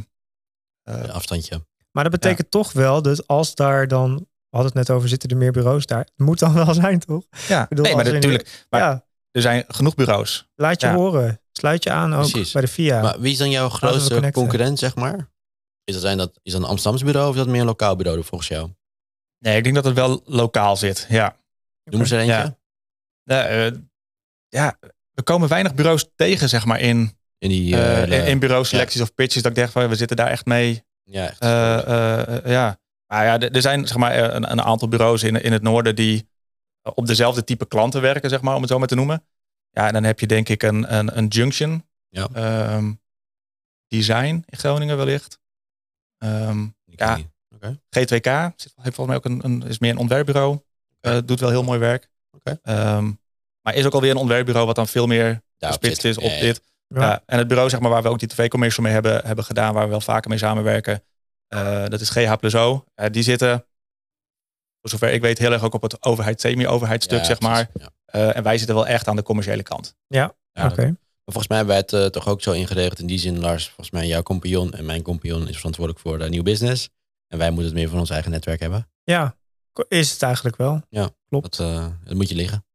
[SPEAKER 3] eh,
[SPEAKER 2] Een afstandje.
[SPEAKER 1] Maar dat betekent toch wel dat als daar dan... We hadden het net over, zitten er meer bureaus daar? Het moet dan wel zijn, toch?
[SPEAKER 3] ja,
[SPEAKER 1] bedoel,
[SPEAKER 3] nee, maar
[SPEAKER 1] als in-
[SPEAKER 3] natuurlijk. Maar
[SPEAKER 1] ja,
[SPEAKER 3] er zijn genoeg bureaus.
[SPEAKER 1] laat je
[SPEAKER 3] ja.
[SPEAKER 1] horen. Sluit je aan ook
[SPEAKER 2] Precies.
[SPEAKER 1] bij de VIA.
[SPEAKER 2] Maar wie is dan jouw
[SPEAKER 1] we
[SPEAKER 2] grootste
[SPEAKER 1] connecten.
[SPEAKER 2] concurrent, zeg maar? Is dat, zijn dat, is dat een Amsterdams bureau of is dat meer een lokaal bureau volgens jou?
[SPEAKER 3] Nee, ik denk dat het wel lokaal zit. Ja.
[SPEAKER 2] Noem eens er eentje.
[SPEAKER 3] Ja. Eh, eh, ja, er komen weinig bureaus tegen, zeg maar, in,
[SPEAKER 2] In die...
[SPEAKER 3] eh
[SPEAKER 2] eh,
[SPEAKER 3] in, in bureauselecties of pitches. Dat ik dacht, van, we zitten daar echt mee.
[SPEAKER 2] ja, echt.
[SPEAKER 3] Eh, eh, eh, ja. Maar ja, er er zijn zeg maar, eh, een, een aantal bureaus in, in het noorden die eh, op dezelfde type klanten werken, zeg maar, om het zo maar te noemen. Ja, en dan heb je denk ik een, een, een Junction.
[SPEAKER 2] Ja.
[SPEAKER 3] Ehm, design in Groningen wellicht. Ehm,
[SPEAKER 2] Ik weet
[SPEAKER 3] ja.
[SPEAKER 2] niet.
[SPEAKER 3] G2K zit, heeft volgens mij ook een, een, is meer een ontwerpbureau. Eh, doet wel heel mooi werk.
[SPEAKER 2] Oké.
[SPEAKER 3] Ehm, maar is ook alweer een ontwerpbureau wat dan veel meer
[SPEAKER 2] Daarop
[SPEAKER 3] gespitst
[SPEAKER 2] zit.
[SPEAKER 3] is op
[SPEAKER 2] Ja, ja.
[SPEAKER 3] dit.
[SPEAKER 1] Ja.
[SPEAKER 3] Ja, en het bureau zeg maar, waar we ook die tv-commercial mee hebben, hebben gedaan, waar we wel vaker mee samenwerken, eh, dat is GH Plus O. Eh, die zitten, voor zover ik weet, heel erg ook op het overheid, semi-overheidstuk,
[SPEAKER 2] Ja,
[SPEAKER 3] zeg maar.
[SPEAKER 2] precies. Ja.
[SPEAKER 3] Eh, en wij zitten wel echt aan de commerciële kant.
[SPEAKER 2] Ja,
[SPEAKER 1] Oké.
[SPEAKER 2] Maar volgens mij hebben wij het eh, toch ook zo ingeregeld. In die zin, Lars, volgens mij jouw compagnon en mijn compagnon is verantwoordelijk voor eh, nieuw business. En wij moeten het meer van ons eigen netwerk hebben.
[SPEAKER 1] Ja, ko- is het eigenlijk wel.
[SPEAKER 2] Dat, eh, dat moet je liggen.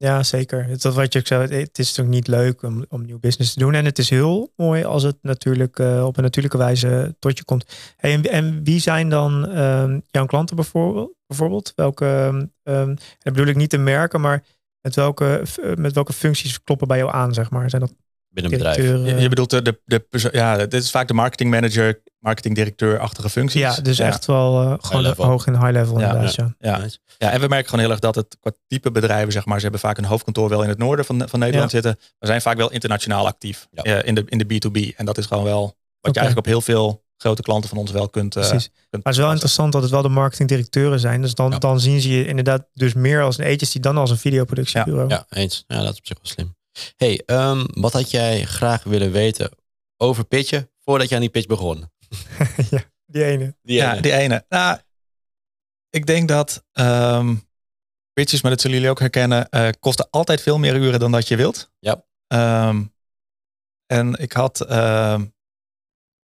[SPEAKER 1] Ja, zeker. Het- Dat wat je ook zei, het is natuurlijk niet leuk om, om nieuw business te doen. En het is heel mooi als het natuurlijk eh, op een natuurlijke wijze tot je komt. Hey, en, en wie zijn dan ehm, jouw klanten bijvoorbeeld? bijvoorbeeld? Welke, ehm, ehm, en dat bedoel ik niet te merken, maar met welke, f- eh, met welke functies kloppen bij jou aan, zeg maar? Zijn dat
[SPEAKER 2] Binnen een bedrijf.
[SPEAKER 1] directeuren?
[SPEAKER 3] Je, je bedoelt de, de, de perso- ja, dit is vaak de marketingmanager, marketingdirecteur-achtige functies.
[SPEAKER 1] ja, dus echt wel eh, gewoon
[SPEAKER 2] level.
[SPEAKER 1] hoog in high level
[SPEAKER 3] Ja,
[SPEAKER 1] inderdaad. Ja.
[SPEAKER 3] ja.
[SPEAKER 2] Nice.
[SPEAKER 3] Ja, en we merken gewoon heel erg dat het qua type bedrijven, zeg maar, ze hebben vaak een hoofdkantoor wel in het noorden van, van Nederland zitten. We zijn vaak wel internationaal actief
[SPEAKER 2] Ja.
[SPEAKER 3] eh, in, de, in de B2B. En dat is gewoon wel wat
[SPEAKER 1] Oké.
[SPEAKER 3] je eigenlijk op heel veel grote klanten van ons wel kunt. eh,
[SPEAKER 1] Precies.
[SPEAKER 3] kunt
[SPEAKER 1] Maar het is wel interessant dat het wel de marketingdirecteuren zijn. Dus dan,
[SPEAKER 2] Ja.
[SPEAKER 1] dan zien ze je inderdaad dus meer als een agency dan als een videoproductiebureau.
[SPEAKER 2] Ja, eens. Ja, dat is op zich wel slim. hey, ehm, wat had jij graag willen weten over pitchen voordat je aan die pitch begon?
[SPEAKER 1] Die ene.
[SPEAKER 2] Die
[SPEAKER 3] Ja,
[SPEAKER 2] ene.
[SPEAKER 3] die ene. Nou, Ik denk dat ehm pitches, maar dat zullen jullie ook herkennen, eh, kosten altijd veel meer uren dan dat je wilt.
[SPEAKER 2] Ja.
[SPEAKER 3] Ehm, en ik had ehm,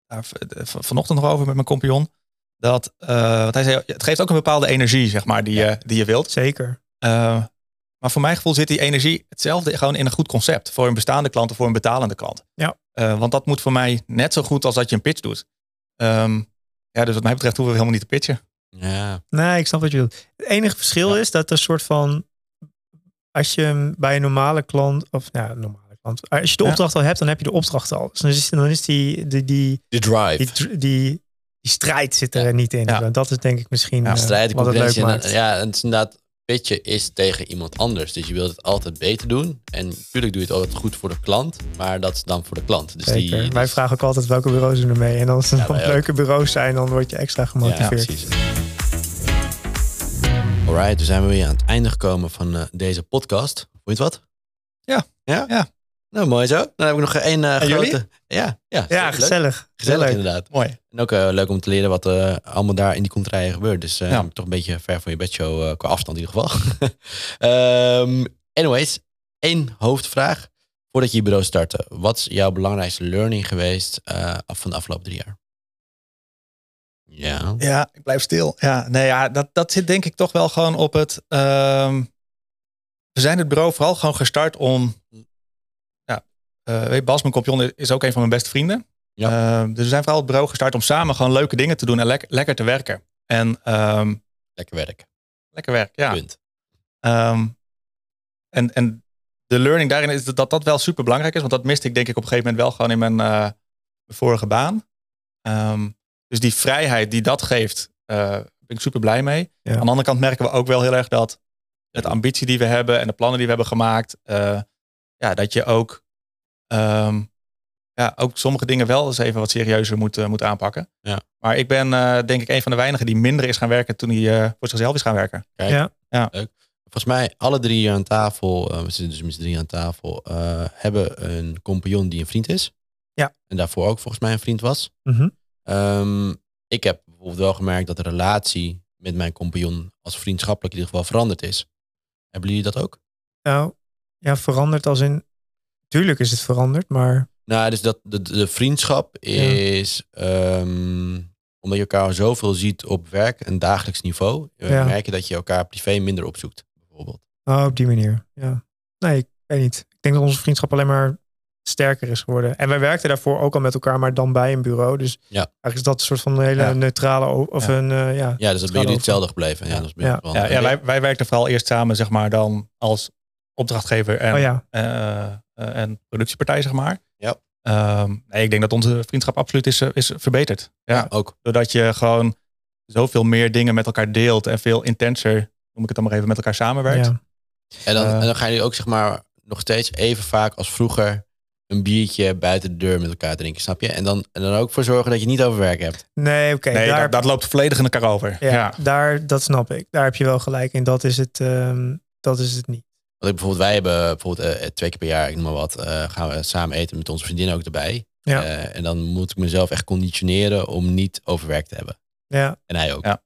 [SPEAKER 3] daar v- de- v- vanochtend nog over met mijn compagnon. Dat, eh, want hij zei, het geeft ook een bepaalde energie, zeg maar, die, je, die je wilt.
[SPEAKER 1] Zeker.
[SPEAKER 3] Eh, maar voor mijn gevoel zit die energie hetzelfde gewoon in een goed concept. Voor een bestaande klant of voor een betalende klant.
[SPEAKER 1] Ja.
[SPEAKER 3] Eh, want dat moet voor mij net zo goed als dat je een pitch doet. Ehm, ja, dus wat mij betreft hoeven we helemaal niet te pitchen.
[SPEAKER 2] Ja,
[SPEAKER 1] Nee, ik snap wat je bedoelt. Het enige verschil
[SPEAKER 2] Ja.
[SPEAKER 1] is dat er een soort van... Als je hem bij een normale klant... Of nou, ja, normale klant. Als je de
[SPEAKER 3] Ja.
[SPEAKER 1] opdracht al hebt, dan heb je de opdracht al. Dus dan is, dan is die, die, die,
[SPEAKER 2] de drive.
[SPEAKER 1] die, die, die strijd zit er
[SPEAKER 2] Ja.
[SPEAKER 1] niet in.
[SPEAKER 3] Ja.
[SPEAKER 1] En Dat is denk ik misschien
[SPEAKER 3] Ja,
[SPEAKER 1] eh,
[SPEAKER 2] strijden,
[SPEAKER 1] wat het leuk
[SPEAKER 2] concurrentie. en-
[SPEAKER 1] maakt.
[SPEAKER 2] ja, en het is inderdaad, pitchen is tegen iemand anders. Dus je wilt het altijd beter doen. En natuurlijk doe je het altijd goed voor de klant, maar dat is dan voor de klant. Dus
[SPEAKER 1] Zeker.
[SPEAKER 2] die,
[SPEAKER 1] Wij
[SPEAKER 2] dus-
[SPEAKER 1] vragen ook altijd welke bureaus doen er mee. En als het
[SPEAKER 2] Ja,
[SPEAKER 1] dan
[SPEAKER 2] wij ook.
[SPEAKER 1] leuke bureaus zijn, dan word je extra
[SPEAKER 2] Ja,
[SPEAKER 1] gemotiveerd.
[SPEAKER 2] precies. Alright, dan zijn we weer aan het einde gekomen van eh, deze podcast. Vond je het wat?
[SPEAKER 3] Ja.
[SPEAKER 2] Ja?
[SPEAKER 3] Ja.
[SPEAKER 2] Nou, mooi zo. Dan heb ik nog één eh,
[SPEAKER 3] En jullie?
[SPEAKER 2] grote... Ja, ja,
[SPEAKER 1] ja,
[SPEAKER 2] leuk.
[SPEAKER 1] gezellig.
[SPEAKER 2] Gezellig
[SPEAKER 1] Leuk.
[SPEAKER 2] inderdaad.
[SPEAKER 3] Mooi.
[SPEAKER 2] En ook eh, leuk om te leren wat eh, allemaal daar in die contraien gebeurt. Dus eh,
[SPEAKER 3] Ja.
[SPEAKER 2] toch een beetje ver van je bedshow eh, qua afstand in ieder geval. Ehm, anyways, één hoofdvraag. Voordat je je bureau startte, wat is jouw belangrijkste learning geweest eh, af van de afgelopen drie jaar? Ja,
[SPEAKER 3] Ja, ik blijf stil. Ja, nee, ja, dat, dat zit denk ik toch wel gewoon op het. ehm, we zijn het bureau vooral gewoon gestart om. Ja, eh, weet je, Bas, mijn compagnon, is ook een van mijn beste vrienden.
[SPEAKER 2] Ja.
[SPEAKER 3] Ehm, dus we zijn vooral het bureau gestart om samen gewoon leuke dingen te doen en lek- lekker te werken. En ehm,
[SPEAKER 2] lekker werk.
[SPEAKER 3] lekker werk, ja.
[SPEAKER 2] Punt.
[SPEAKER 3] Ehm, en, en de learning daarin is dat dat wel super belangrijk is. Want dat miste ik denk ik op een gegeven moment wel gewoon in mijn eh, mijn vorige baan. Ehm, dus die vrijheid die dat geeft, eh, ben ik super blij mee.
[SPEAKER 1] Ja.
[SPEAKER 3] Aan de andere kant merken we ook wel heel erg dat de ambitie die we hebben en de plannen die we hebben gemaakt, eh, ja, dat je ook, ehm, ja, ook sommige dingen wel eens even wat serieuzer moet, eh, moet aanpakken.
[SPEAKER 2] Ja.
[SPEAKER 3] Maar ik ben eh, denk ik een van de weinigen die minder is gaan werken toen hij eh, voor zichzelf is gaan werken.
[SPEAKER 2] Kijk,
[SPEAKER 1] Ja.
[SPEAKER 3] Ja.
[SPEAKER 2] leuk. Volgens mij alle drie hier aan tafel, eh, we zitten dus met z'n drie aan tafel, eh, hebben een compagnon die een vriend is.
[SPEAKER 1] Ja.
[SPEAKER 2] En daarvoor ook volgens mij een vriend was.
[SPEAKER 1] Mhm.
[SPEAKER 2] Ehm, ik heb bijvoorbeeld wel gemerkt dat de relatie met mijn compagnon als vriendschappelijk in ieder geval veranderd is. Hebben jullie dat ook?
[SPEAKER 1] Nou, ja, veranderd als in... Tuurlijk is het veranderd, maar
[SPEAKER 2] Nou, dus dat de, de vriendschap is, ehm, omdat je elkaar zoveel ziet op werk en dagelijks niveau, eh,
[SPEAKER 1] Ja.
[SPEAKER 2] merk je dat je elkaar privé minder opzoekt, bijvoorbeeld.
[SPEAKER 1] oh, op die manier. Ja. Nee, ik weet niet. Ik denk dat onze vriendschap alleen maar sterker is geworden. En wij werkten daarvoor ook al met elkaar, maar dan bij een bureau. Dus
[SPEAKER 2] Ja.
[SPEAKER 1] eigenlijk is dat een soort van een hele
[SPEAKER 3] Ja.
[SPEAKER 1] neutrale... o- Of
[SPEAKER 3] Ja.
[SPEAKER 1] een, eh, ja.
[SPEAKER 2] Ja,
[SPEAKER 1] gaat
[SPEAKER 2] dus dat ben jullie
[SPEAKER 1] over.
[SPEAKER 2] hetzelfde gebleven. Ja, dat is bij
[SPEAKER 1] Ja.
[SPEAKER 2] ons wel-
[SPEAKER 3] Ja, ja wij, wij werkten vooral eerst samen, zeg maar, dan als opdrachtgever en,
[SPEAKER 1] Oh ja,
[SPEAKER 3] eh, eh, en productiepartij, zeg maar.
[SPEAKER 2] Ja.
[SPEAKER 3] Ehm, nee, ik denk dat onze vriendschap absoluut is, eh, is verbeterd. Ja.
[SPEAKER 2] Ook.
[SPEAKER 3] Doordat je gewoon zoveel meer dingen met elkaar deelt en veel intenser, noem ik het dan maar even, met elkaar samenwerkt.
[SPEAKER 1] ja.
[SPEAKER 2] En dan,
[SPEAKER 3] Eh.
[SPEAKER 2] en dan gaan jullie ook zeg maar nog steeds even vaak als vroeger een biertje buiten de deur met elkaar drinken, snap je? En dan, en dan ook voor zorgen dat je niet over werk hebt.
[SPEAKER 1] Nee, oké.
[SPEAKER 3] nee,
[SPEAKER 1] daar,
[SPEAKER 3] dat, dat loopt volledig in elkaar over.
[SPEAKER 1] ja,
[SPEAKER 3] Ja.
[SPEAKER 1] daar, dat snap ik. Daar heb je wel gelijk in. Dat is het, ehm, dat is het niet.
[SPEAKER 2] Want ik, bijvoorbeeld, wij hebben bijvoorbeeld eh, twee keer per jaar, ik noem maar wat, eh, gaan we samen eten met onze vriendin ook erbij.
[SPEAKER 1] Ja.
[SPEAKER 2] Eh, en dan moet ik mezelf echt conditioneren om niet over werk te hebben.
[SPEAKER 1] Ja.
[SPEAKER 2] En hij ook.
[SPEAKER 3] Ja.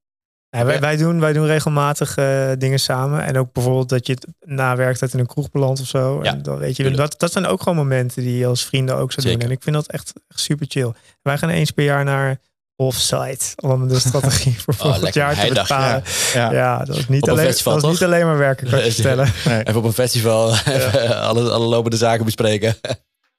[SPEAKER 1] Ja, wij,
[SPEAKER 2] Ja.
[SPEAKER 1] wij, doen, wij doen regelmatig eh, dingen samen. En ook bijvoorbeeld dat je het na werktijd in een kroeg belandt of zo.
[SPEAKER 2] Ja,
[SPEAKER 1] en dan weet je,
[SPEAKER 2] tuurlijk.
[SPEAKER 1] dat, dat zijn ook gewoon momenten die je als vrienden ook zou doen.
[SPEAKER 2] Zeker.
[SPEAKER 1] En ik vind dat echt, echt super chill. Wij gaan eens per jaar naar offsite. Om de strategie voor volgend
[SPEAKER 2] Oh, lekker,
[SPEAKER 1] jaar te
[SPEAKER 2] heidag,
[SPEAKER 1] bepalen. Ja.
[SPEAKER 3] ja.
[SPEAKER 1] dat is niet,
[SPEAKER 2] Op een
[SPEAKER 1] alleen,
[SPEAKER 2] festival,
[SPEAKER 1] dat is niet
[SPEAKER 2] toch?
[SPEAKER 1] alleen maar werken, kan ik je
[SPEAKER 2] Nee,
[SPEAKER 1] vertellen.
[SPEAKER 2] Even op een festival even alle, alle lopende zaken bespreken.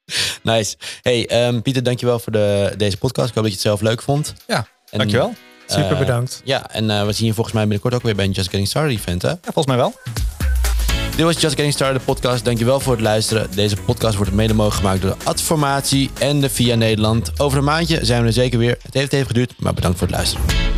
[SPEAKER 2] nice. Hey, ehm, Pieter, dankjewel voor de, deze podcast. Ik hoop dat je het zelf leuk vond.
[SPEAKER 3] Ja,
[SPEAKER 2] En,
[SPEAKER 3] Dankjewel.
[SPEAKER 2] eh,
[SPEAKER 1] Super bedankt.
[SPEAKER 2] Ja, en eh, we zien je volgens mij binnenkort ook weer bij een Just Getting Started event, hè?
[SPEAKER 3] Ja, volgens mij wel.
[SPEAKER 2] Dit was Just Getting Started, de podcast. Dankjewel voor het luisteren. Deze podcast wordt mede mogelijk gemaakt door de Adformatie en de Via Nederland. Over een maandje zijn we er zeker weer. Het heeft even geduurd, maar bedankt voor het luisteren.